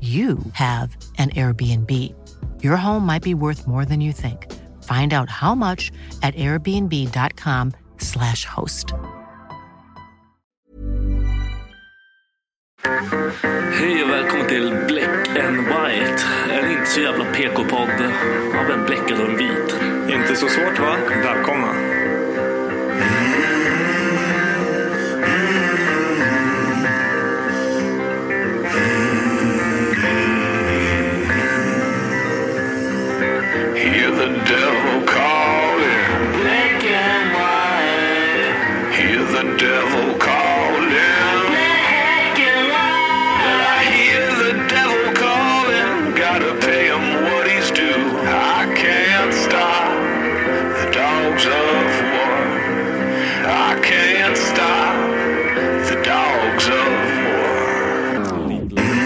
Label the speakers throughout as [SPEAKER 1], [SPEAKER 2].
[SPEAKER 1] you have an Airbnb. Your home might be worth more than you think. Find out how much at airbnb.com/slash host.
[SPEAKER 2] Hej och välkommen till Black and White. En inte så jävla PK-podd av en bläckad och en vit.
[SPEAKER 3] Inte så svårt va? Välkomna.
[SPEAKER 4] Hear the devil calling. Black and white. Hear the devil calling. Black and white. I hear the devil calling. Gotta pay him what he's due. I can't stop the dogs of war. I can't stop the dogs of war.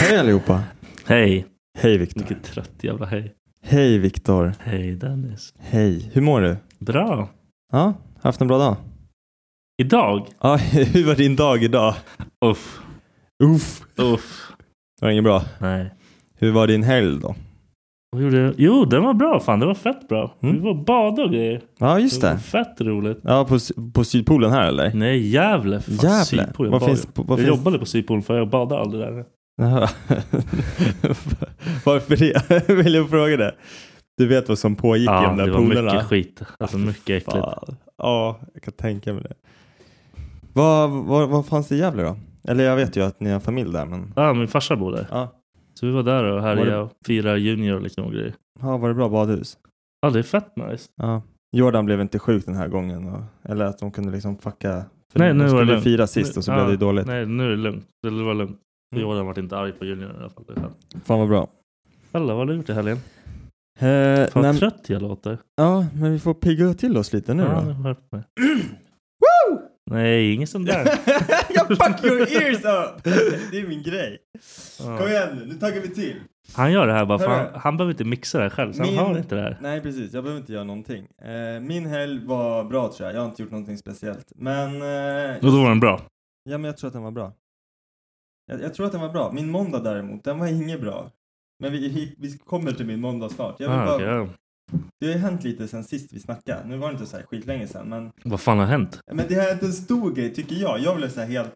[SPEAKER 3] Hej allihopa.
[SPEAKER 2] Hej.
[SPEAKER 3] Hej Viktor.
[SPEAKER 2] Vilket trött jävla hej.
[SPEAKER 3] Hej Viktor.
[SPEAKER 2] Hej Dennis.
[SPEAKER 3] Hej. Hur mår du?
[SPEAKER 2] Bra.
[SPEAKER 3] Ja, haft en bra dag?
[SPEAKER 2] Idag?
[SPEAKER 3] Ja, hur var din dag idag?
[SPEAKER 2] Uff.
[SPEAKER 3] Uff.
[SPEAKER 2] Uff.
[SPEAKER 3] Det var inget bra.
[SPEAKER 2] Nej.
[SPEAKER 3] Hur var din helg då?
[SPEAKER 2] Vad gjorde jag? Jo, den var bra fan. Det var fett bra.
[SPEAKER 3] Mm.
[SPEAKER 2] Vi var och badade och grejer.
[SPEAKER 3] Ja, just
[SPEAKER 2] Det var
[SPEAKER 3] det.
[SPEAKER 2] fett roligt.
[SPEAKER 3] Ja, på, på Sydpolen här eller?
[SPEAKER 2] Nej, Gävle. för Fan,
[SPEAKER 3] Gävle?
[SPEAKER 2] Sydpolen.
[SPEAKER 3] Vad
[SPEAKER 2] Vad
[SPEAKER 3] finns-
[SPEAKER 2] jag
[SPEAKER 3] vad
[SPEAKER 2] jag
[SPEAKER 3] finns-
[SPEAKER 2] jobbade på Sydpolen för jag badade aldrig där.
[SPEAKER 3] Jaha. Varför det? Vill jag fråga det? Du vet vad som pågick i
[SPEAKER 2] Ja,
[SPEAKER 3] de där
[SPEAKER 2] det var
[SPEAKER 3] polerna?
[SPEAKER 2] mycket skit. Alltså
[SPEAKER 3] Ah, fy
[SPEAKER 2] mycket äckligt.
[SPEAKER 3] fan. Ja, jag kan tänka mig det. Vad, vad, vad fanns det i Gävle då? Eller jag vet ju att ni har familj där, men
[SPEAKER 2] Ja, min farsa bor där.
[SPEAKER 3] ja.
[SPEAKER 2] Så vi var där och
[SPEAKER 3] Var
[SPEAKER 2] härjade
[SPEAKER 3] det-
[SPEAKER 2] och firade junior och liksom och grejer.
[SPEAKER 3] Ja, var det bra badhus?
[SPEAKER 2] Ja, det är fett nice.
[SPEAKER 3] Ja. Jordan blev inte sjuk den här gången. Och, eller att de kunde liksom fucka. För
[SPEAKER 2] Nej,
[SPEAKER 3] de
[SPEAKER 2] nu var det
[SPEAKER 3] skulle
[SPEAKER 2] lugnt.
[SPEAKER 3] fira sist
[SPEAKER 2] Nu-
[SPEAKER 3] och så
[SPEAKER 2] ja,
[SPEAKER 3] blev det ju dåligt.
[SPEAKER 2] Nej, nu är det lugnt. Det var lugnt.
[SPEAKER 3] Mm.
[SPEAKER 2] Jordan har varit inte arg på junior i alla fall. Det är skönt.
[SPEAKER 3] Fan vad bra.
[SPEAKER 2] Alla, vad har du gjort i helgen?
[SPEAKER 3] Eh,
[SPEAKER 2] Fan vad
[SPEAKER 3] nej,
[SPEAKER 2] trött jag låter.
[SPEAKER 3] ja, men vi får pigga till oss lite nu
[SPEAKER 2] Ja,
[SPEAKER 3] då.
[SPEAKER 2] nu skärp mig. Nej, inget sånt där.
[SPEAKER 3] Jag fuck your ears up! Det är min grej.
[SPEAKER 2] Ja.
[SPEAKER 3] Kom igen nu, nu taggar vi till.
[SPEAKER 2] Han gör det här bara för
[SPEAKER 3] Hörru.
[SPEAKER 2] han, han behöver inte mixa det här själv. Så
[SPEAKER 3] Min-
[SPEAKER 2] han har inte det här.
[SPEAKER 3] Nej precis, jag behöver inte göra någonting. Eh, min helg var bra tror jag. Jag har inte gjort någonting speciellt. Men, eh,
[SPEAKER 2] Och då var den bra.
[SPEAKER 3] ja, men jag tror att den var bra. Jag, jag tror att den var bra. Min måndag däremot, den var inget bra. Men vi, vi kommer till min måndag snart. Jag vill
[SPEAKER 2] Ah,
[SPEAKER 3] bara,
[SPEAKER 2] okej, ja.
[SPEAKER 3] Det har ju hänt lite sen sist vi snackade. Nu var det inte så här skitlänge sen men,
[SPEAKER 2] Vad fan har hänt?
[SPEAKER 3] men det har hänt en stor grej tycker jag. Jag blev så här helt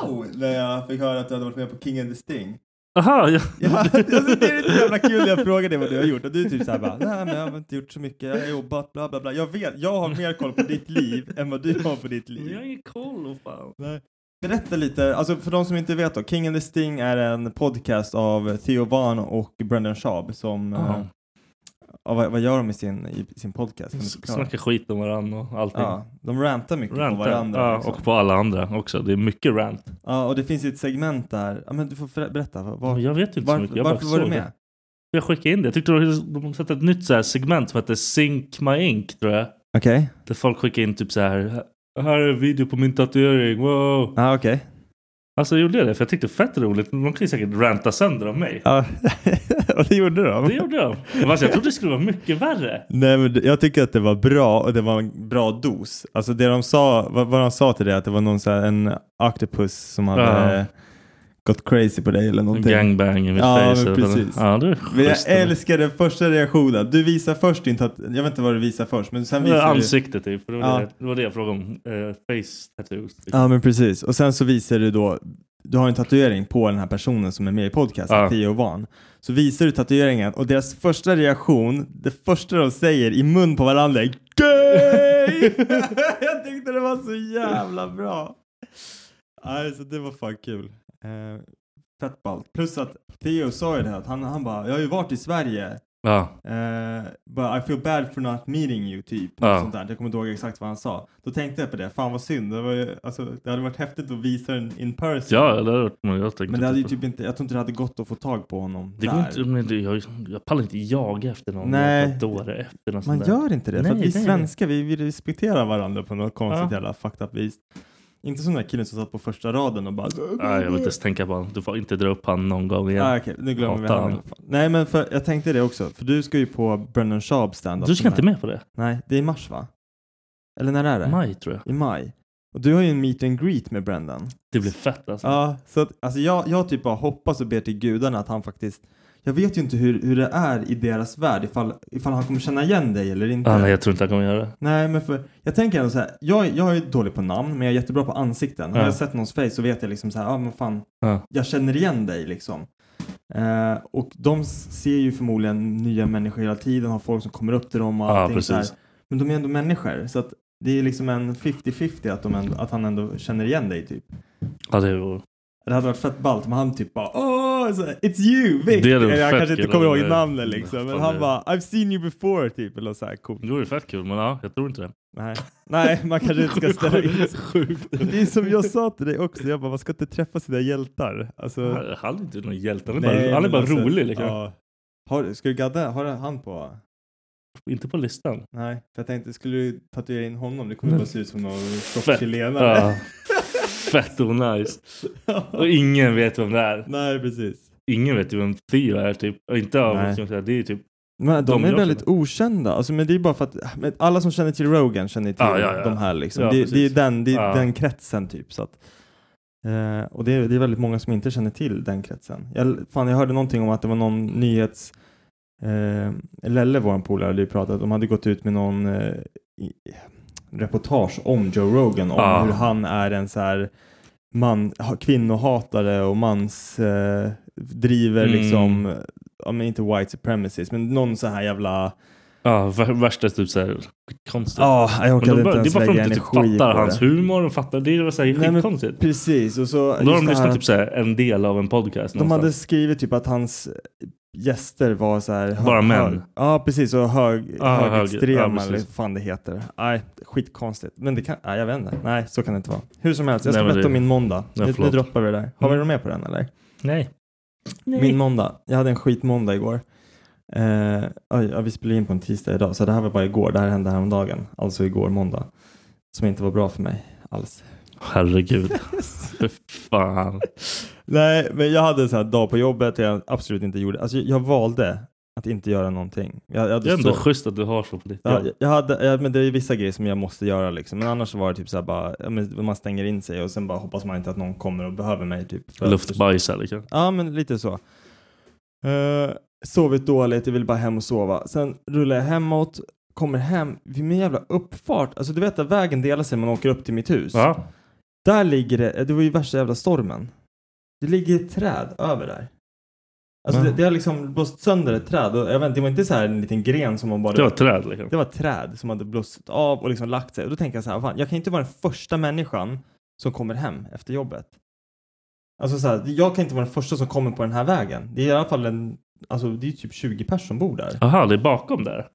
[SPEAKER 3] wow när jag fick höra att du hade varit med på King and the Sting.
[SPEAKER 2] Aha, ja.
[SPEAKER 3] Ja, alltså, det är så jävla kul när jag frågar dig vad du har gjort och du är typ såhär bara nej men jag har inte gjort så mycket, jag har jobbat bla bla bla. Jag vet, jag har mer koll på ditt liv än vad du har på ditt
[SPEAKER 2] Jag har
[SPEAKER 3] liv.
[SPEAKER 2] ingen koll. vad Fan.
[SPEAKER 3] Nej. Berätta lite, alltså för de som inte vet då, King and the Sting är en podcast av Theo Van och Brendan Schaub som...
[SPEAKER 2] Ja.
[SPEAKER 3] eh, ja, vad, vad gör de i sin, i sin podcast? Kan du förklara?
[SPEAKER 2] Snackar skit om varandra och allting.
[SPEAKER 3] Ja, de rantar mycket på
[SPEAKER 2] Rantar.
[SPEAKER 3] varandra.
[SPEAKER 2] Ja,
[SPEAKER 3] liksom.
[SPEAKER 2] och på alla andra också. Det är mycket rant.
[SPEAKER 3] ja, och det finns ju ett segment där, ja, men du får för- berätta, vad,
[SPEAKER 2] Men
[SPEAKER 3] var,
[SPEAKER 2] Jag vet inte så mycket.
[SPEAKER 3] varför,
[SPEAKER 2] Jag bara
[SPEAKER 3] varför var du
[SPEAKER 2] såg det.
[SPEAKER 3] med?
[SPEAKER 2] Jag skickade in det. Jag tyckte de, de satte ett nytt så här segment som hette Sync My Ink tror jag.
[SPEAKER 3] Okej,
[SPEAKER 2] Där folk skickar in typ så här. Här är en video på min tatuering. Wow.
[SPEAKER 3] ja okej.
[SPEAKER 2] Alltså jag gjorde det för jag tyckte fett roligt. De kan ju säkert ranta sönder om mig.
[SPEAKER 3] Ja, och det gjorde de.
[SPEAKER 2] Det gjorde de. Men Alltså, jag trodde det skulle vara mycket värre.
[SPEAKER 3] Nej, men det- jag tycker att det var bra och det var en bra dos. Alltså det de sa, vad, vad de sa till dig, att det var någon så här, en octopus som hade
[SPEAKER 2] Ja.
[SPEAKER 3] eh, gått crazy på dig eller
[SPEAKER 2] En
[SPEAKER 3] någonting.
[SPEAKER 2] gangbang i mitt
[SPEAKER 3] Ja,
[SPEAKER 2] face.
[SPEAKER 3] men precis.
[SPEAKER 2] Ja, det är
[SPEAKER 3] Men jag
[SPEAKER 2] schysst.
[SPEAKER 3] älskar den första reaktionen. Du visar först din tat- jag vet inte vad du visar först, men sen
[SPEAKER 2] Det var
[SPEAKER 3] visar du...
[SPEAKER 2] Ansiktet typ. För det, var
[SPEAKER 3] Ja.
[SPEAKER 2] det, det var det jag frågade om. Eh, face tattoos. Typ.
[SPEAKER 3] Ja, men precis. Och sen så visar du då, du har en tatuering på den här personen som är med i podcasten,
[SPEAKER 2] Ja.
[SPEAKER 3] Theo Van. Så visar du tatueringen och deras första reaktion, det första de säger i mun på varandra är GAY! jag tyckte det var så jävla bra. Alltså det var fan kul. Eh, fett ballt. Plus att Theo sa ju det här, att han, han bara, jag har ju varit i Sverige
[SPEAKER 2] Ja.
[SPEAKER 3] Eh, but I feel bad for not meeting you, typ.
[SPEAKER 2] Ja.
[SPEAKER 3] något Sånt där. Jag kommer inte ihåg exakt vad han sa. Då tänkte jag på det, fan vad synd. Det, var ju, alltså, det hade varit häftigt att visa den in person.
[SPEAKER 2] Ja, eller hur? Men jag tänkte
[SPEAKER 3] men det hade ju
[SPEAKER 2] typ-
[SPEAKER 3] typ inte, jag tror inte det hade gått att få tag på honom
[SPEAKER 2] Det går
[SPEAKER 3] där.
[SPEAKER 2] inte, men det, jag, jag pallar inte jaga efter någon.
[SPEAKER 3] Nej.
[SPEAKER 2] Nej. Dåre efter någon
[SPEAKER 3] Man
[SPEAKER 2] sån där.
[SPEAKER 3] gör inte det, för
[SPEAKER 2] Nej,
[SPEAKER 3] att vi
[SPEAKER 2] nej.
[SPEAKER 3] svenskar vi, vi respekterar varandra på något konstigt
[SPEAKER 2] Ja.
[SPEAKER 3] jävla fucked up vis. Inte som den där killen som satt på första raden och bara
[SPEAKER 2] Nej, jag vill inte ens tänka på honom. Du får inte dra upp han någon gång igen.
[SPEAKER 3] Ah, okej, nu glömmer vi
[SPEAKER 2] Hatar
[SPEAKER 3] honom.
[SPEAKER 2] honom.
[SPEAKER 3] Nej men för, jag tänkte det också, för du ska ju på Brennan Schaub standup.
[SPEAKER 2] du ska
[SPEAKER 3] som
[SPEAKER 2] inte
[SPEAKER 3] är-
[SPEAKER 2] med på det?
[SPEAKER 3] Nej, det är i mars va? Eller när är det?
[SPEAKER 2] Maj tror jag.
[SPEAKER 3] i maj. Och du har ju en meet and greet med Brendan.
[SPEAKER 2] Det blir fett alltså.
[SPEAKER 3] Ja, så att, alltså jag, jag typ bara hoppas och ber till gudarna att han faktiskt... Jag vet ju inte hur, hur det är i deras värld, ifall, ifall han kommer känna igen dig eller inte.
[SPEAKER 2] Ah, nej, jag tror inte han kommer göra det.
[SPEAKER 3] Nej, men för, jag tänker ändå så här, jag, jag är dålig på namn, men jag är jättebra på ansikten. Har
[SPEAKER 2] Ja.
[SPEAKER 3] jag sett någons face så vet jag liksom så här, ja ah, men fan,
[SPEAKER 2] Ja.
[SPEAKER 3] jag känner igen dig liksom. Eh, och de s- ser ju förmodligen nya människor hela tiden, har folk som kommer upp till dem och
[SPEAKER 2] Ja,
[SPEAKER 3] allting
[SPEAKER 2] precis.
[SPEAKER 3] så här. Men de är ändå människor, så att det är liksom en 50-50 att, de ändå, att han ändå känner igen dig typ.
[SPEAKER 2] Ja, det vore...
[SPEAKER 3] Det hade varit fett ballt om han typ bara Åh, så här, it's you Vic!
[SPEAKER 2] Det hade varit
[SPEAKER 3] Eller jag
[SPEAKER 2] fett
[SPEAKER 3] kanske inte
[SPEAKER 2] kul
[SPEAKER 3] kommer
[SPEAKER 2] om
[SPEAKER 3] ihåg
[SPEAKER 2] det-
[SPEAKER 3] namnen liksom, men
[SPEAKER 2] Fan,
[SPEAKER 3] han
[SPEAKER 2] det-
[SPEAKER 3] bara I've seen you before typ, eller så här coolt.
[SPEAKER 2] Det vore fett kul, men ja, jag tror inte det.
[SPEAKER 3] Nej, Nej man kanske inte ska ställa in sig.
[SPEAKER 2] Sjukt.
[SPEAKER 3] Det är som jag sa till dig också, jag bara man ska inte träffa sina hjältar. Alltså,
[SPEAKER 2] Han han är inte någon hjälte. Han är
[SPEAKER 3] nej,
[SPEAKER 2] bara, han är
[SPEAKER 3] men
[SPEAKER 2] bara
[SPEAKER 3] alltså,
[SPEAKER 2] rolig. Liksom.
[SPEAKER 3] ja. Har, du- ska du gadda, har du han på?
[SPEAKER 2] Inte på listan.
[SPEAKER 3] Nej, för jag tänkte skulle du tatuera in honom, det kommer bara se ut som någon tjock
[SPEAKER 2] Fett.
[SPEAKER 3] chilenare.
[SPEAKER 2] Ja. fett onajs. Och ingen vet vem det är.
[SPEAKER 3] Nej, precis.
[SPEAKER 2] Ingen vet ju vem Theo är typ. Och inte av,
[SPEAKER 3] Nej.
[SPEAKER 2] som jag säger, det är ju typ
[SPEAKER 3] Men de,
[SPEAKER 2] De
[SPEAKER 3] är
[SPEAKER 2] jag
[SPEAKER 3] väldigt
[SPEAKER 2] känner.
[SPEAKER 3] okända. Alltså, men det är bara för att men alla som känner till Rogan känner till
[SPEAKER 2] Ah, Ja, ja, ja.
[SPEAKER 3] de här. Liksom.
[SPEAKER 2] Ja,
[SPEAKER 3] det, det är,
[SPEAKER 2] precis. Ah.
[SPEAKER 3] den, det är
[SPEAKER 2] Ja.
[SPEAKER 3] den kretsen typ. Så att, eh, och det är, det är väldigt många som inte känner till den kretsen. Jag, fan, jag hörde någonting om att det var någon nyhets... Eh, Lelle, vår polare, hade ju pratat. De hade gått ut med någon eh, i, reportage om Joe Rogan. Om
[SPEAKER 2] Ja.
[SPEAKER 3] hur han är en så här man, ha- kvinnohatare och mans... Eh, driver
[SPEAKER 2] Mm.
[SPEAKER 3] liksom ja, men inte white supremacist, men någon så här jävla...
[SPEAKER 2] Ja, vär- värsta typ såhär konstigt.
[SPEAKER 3] Ja, jag
[SPEAKER 2] Men
[SPEAKER 3] orkade
[SPEAKER 2] de
[SPEAKER 3] inte
[SPEAKER 2] bara, det är
[SPEAKER 3] ens
[SPEAKER 2] bara för att
[SPEAKER 3] lägga
[SPEAKER 2] de inte typ
[SPEAKER 3] energi på
[SPEAKER 2] fattar hans
[SPEAKER 3] det.
[SPEAKER 2] humor, de fattar, det var såhär
[SPEAKER 3] Nej, men
[SPEAKER 2] skitkonstigt.
[SPEAKER 3] Precis, och så...
[SPEAKER 2] Och Då har
[SPEAKER 3] just
[SPEAKER 2] de
[SPEAKER 3] det
[SPEAKER 2] lyssnat
[SPEAKER 3] här-
[SPEAKER 2] typ såhär en del av en podcast
[SPEAKER 3] de hade
[SPEAKER 2] någonstans.
[SPEAKER 3] skrivit typ att hans gäster var så här... hö-
[SPEAKER 2] Bara män. Ah,
[SPEAKER 3] hög- Ja, precis. Och hög,
[SPEAKER 2] Ja, hög-
[SPEAKER 3] högerextrema,
[SPEAKER 2] ja, precis.
[SPEAKER 3] eller vad fan det heter. Nej, skitkonstigt. Men det kan... Nej, jag vet inte. Nej, så kan det inte vara. Hur som helst, jag
[SPEAKER 2] Nej,
[SPEAKER 3] ska
[SPEAKER 2] men
[SPEAKER 3] berätta
[SPEAKER 2] det-
[SPEAKER 3] om min måndag.
[SPEAKER 2] Nej,
[SPEAKER 3] nu, nu
[SPEAKER 2] förlåt.
[SPEAKER 3] droppar vi det där. Har vi
[SPEAKER 2] Mm.
[SPEAKER 3] något mer på den eller?
[SPEAKER 2] Nej.
[SPEAKER 3] Min måndag. Jag hade en skitmåndag igår. Eh, oj, ja, vi spelade in på en tisdag idag, så det här var bara igår. Det här hände häromdagen, alltså igår måndag. Som inte var bra för mig alls.
[SPEAKER 2] Herregud. Fy fan.
[SPEAKER 3] Nej, men jag hade en sån här dag på jobbet där jag absolut inte gjorde. Alltså, jag valde att inte göra någonting. Jag, jag,
[SPEAKER 2] Det
[SPEAKER 3] hade
[SPEAKER 2] är ändå
[SPEAKER 3] så-
[SPEAKER 2] schysst att du har så på ditt
[SPEAKER 3] Ja,
[SPEAKER 2] jobb.
[SPEAKER 3] jag- jag hade, ja, men det är vissa grejer som jag måste göra liksom. Men annars så var det typ så här bara, ja, men man stänger in sig och sen bara hoppas man inte att någon kommer och behöver mig typ. för att-
[SPEAKER 2] Luftbajsar liksom.
[SPEAKER 3] Ja, men lite så. Eh, sovit dåligt, jag ville bara hem och sova. Sen rullar jag hemåt, kommer hem vid min jävla uppfart. Alltså du vet att vägen delar sig när man åker upp till mitt hus.
[SPEAKER 2] Ja.
[SPEAKER 3] Där ligger det, det var ju värsta jävla stormen. Det ligger ett träd över där. Alltså
[SPEAKER 2] Ja.
[SPEAKER 3] det, det har liksom blåst sönder ett träd. Och jag vet, inte, det var inte så här en liten gren som man bara...
[SPEAKER 2] Det var ett träd liksom.
[SPEAKER 3] Det var ett träd som hade blåst av och liksom lagt sig. Och då tänkte jag så här, fan, jag kan inte vara den första människan som kommer hem efter jobbet. Alltså så här, jag kan inte vara den första som kommer på den här vägen. Det är i alla fall en, alltså det är typ 20 personer som bor där.
[SPEAKER 2] Jaha, det är bakom där.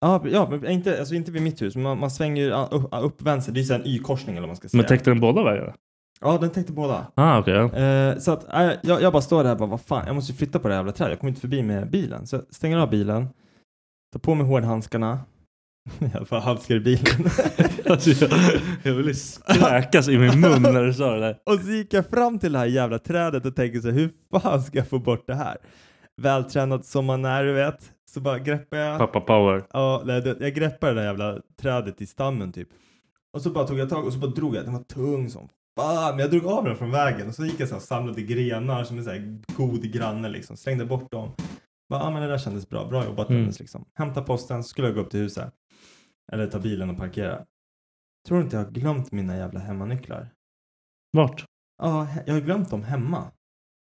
[SPEAKER 3] Ja, ja men inte, alltså inte vid mitt hus, men man, man svänger ju a- upp, upp vänster. Det är ju så här en Y-korsning eller vad man ska säga.
[SPEAKER 2] Men täckte den båda vägarna?
[SPEAKER 3] Ja, den täckte båda.
[SPEAKER 2] Ah, okej. ja.
[SPEAKER 3] Eh, så att eh, jag, jag bara står där och bara, vad fan, jag måste ju flytta på det här jävla trädet. Jag kommer inte förbi med bilen. Så jag stänger av bilen, tar på mig hårdhandskarna. jag får handskar i bilen.
[SPEAKER 2] Alltså, jag, jag ville kräkas i min mun när du sa det där.
[SPEAKER 3] och så gick jag fram till det här jävla trädet och tänkte så här, hur fan ska jag få bort det här? Vältränad som man är, du vet. Så bara greppar jag.
[SPEAKER 2] Pappa power.
[SPEAKER 3] Ja, nej, det- jag greppade det där jävla trädet i stammen typ. Och så bara tog jag tag och så bara drog jag. Den var tung som fan. Men jag drog av den från vägen och så gick jag så här och samlade grenar som en så här god granne liksom. Slängde bort dem. Bara, ja men det där kändes bra. Bra jobbat
[SPEAKER 2] Mm.
[SPEAKER 3] Dennis liksom. Hämta posten så skulle jag gå upp till huset. Eller ta bilen och parkera. Tror du inte jag har glömt mina jävla hemmanycklar?
[SPEAKER 2] Vart?
[SPEAKER 3] Ja, he- jag har glömt dem hemma.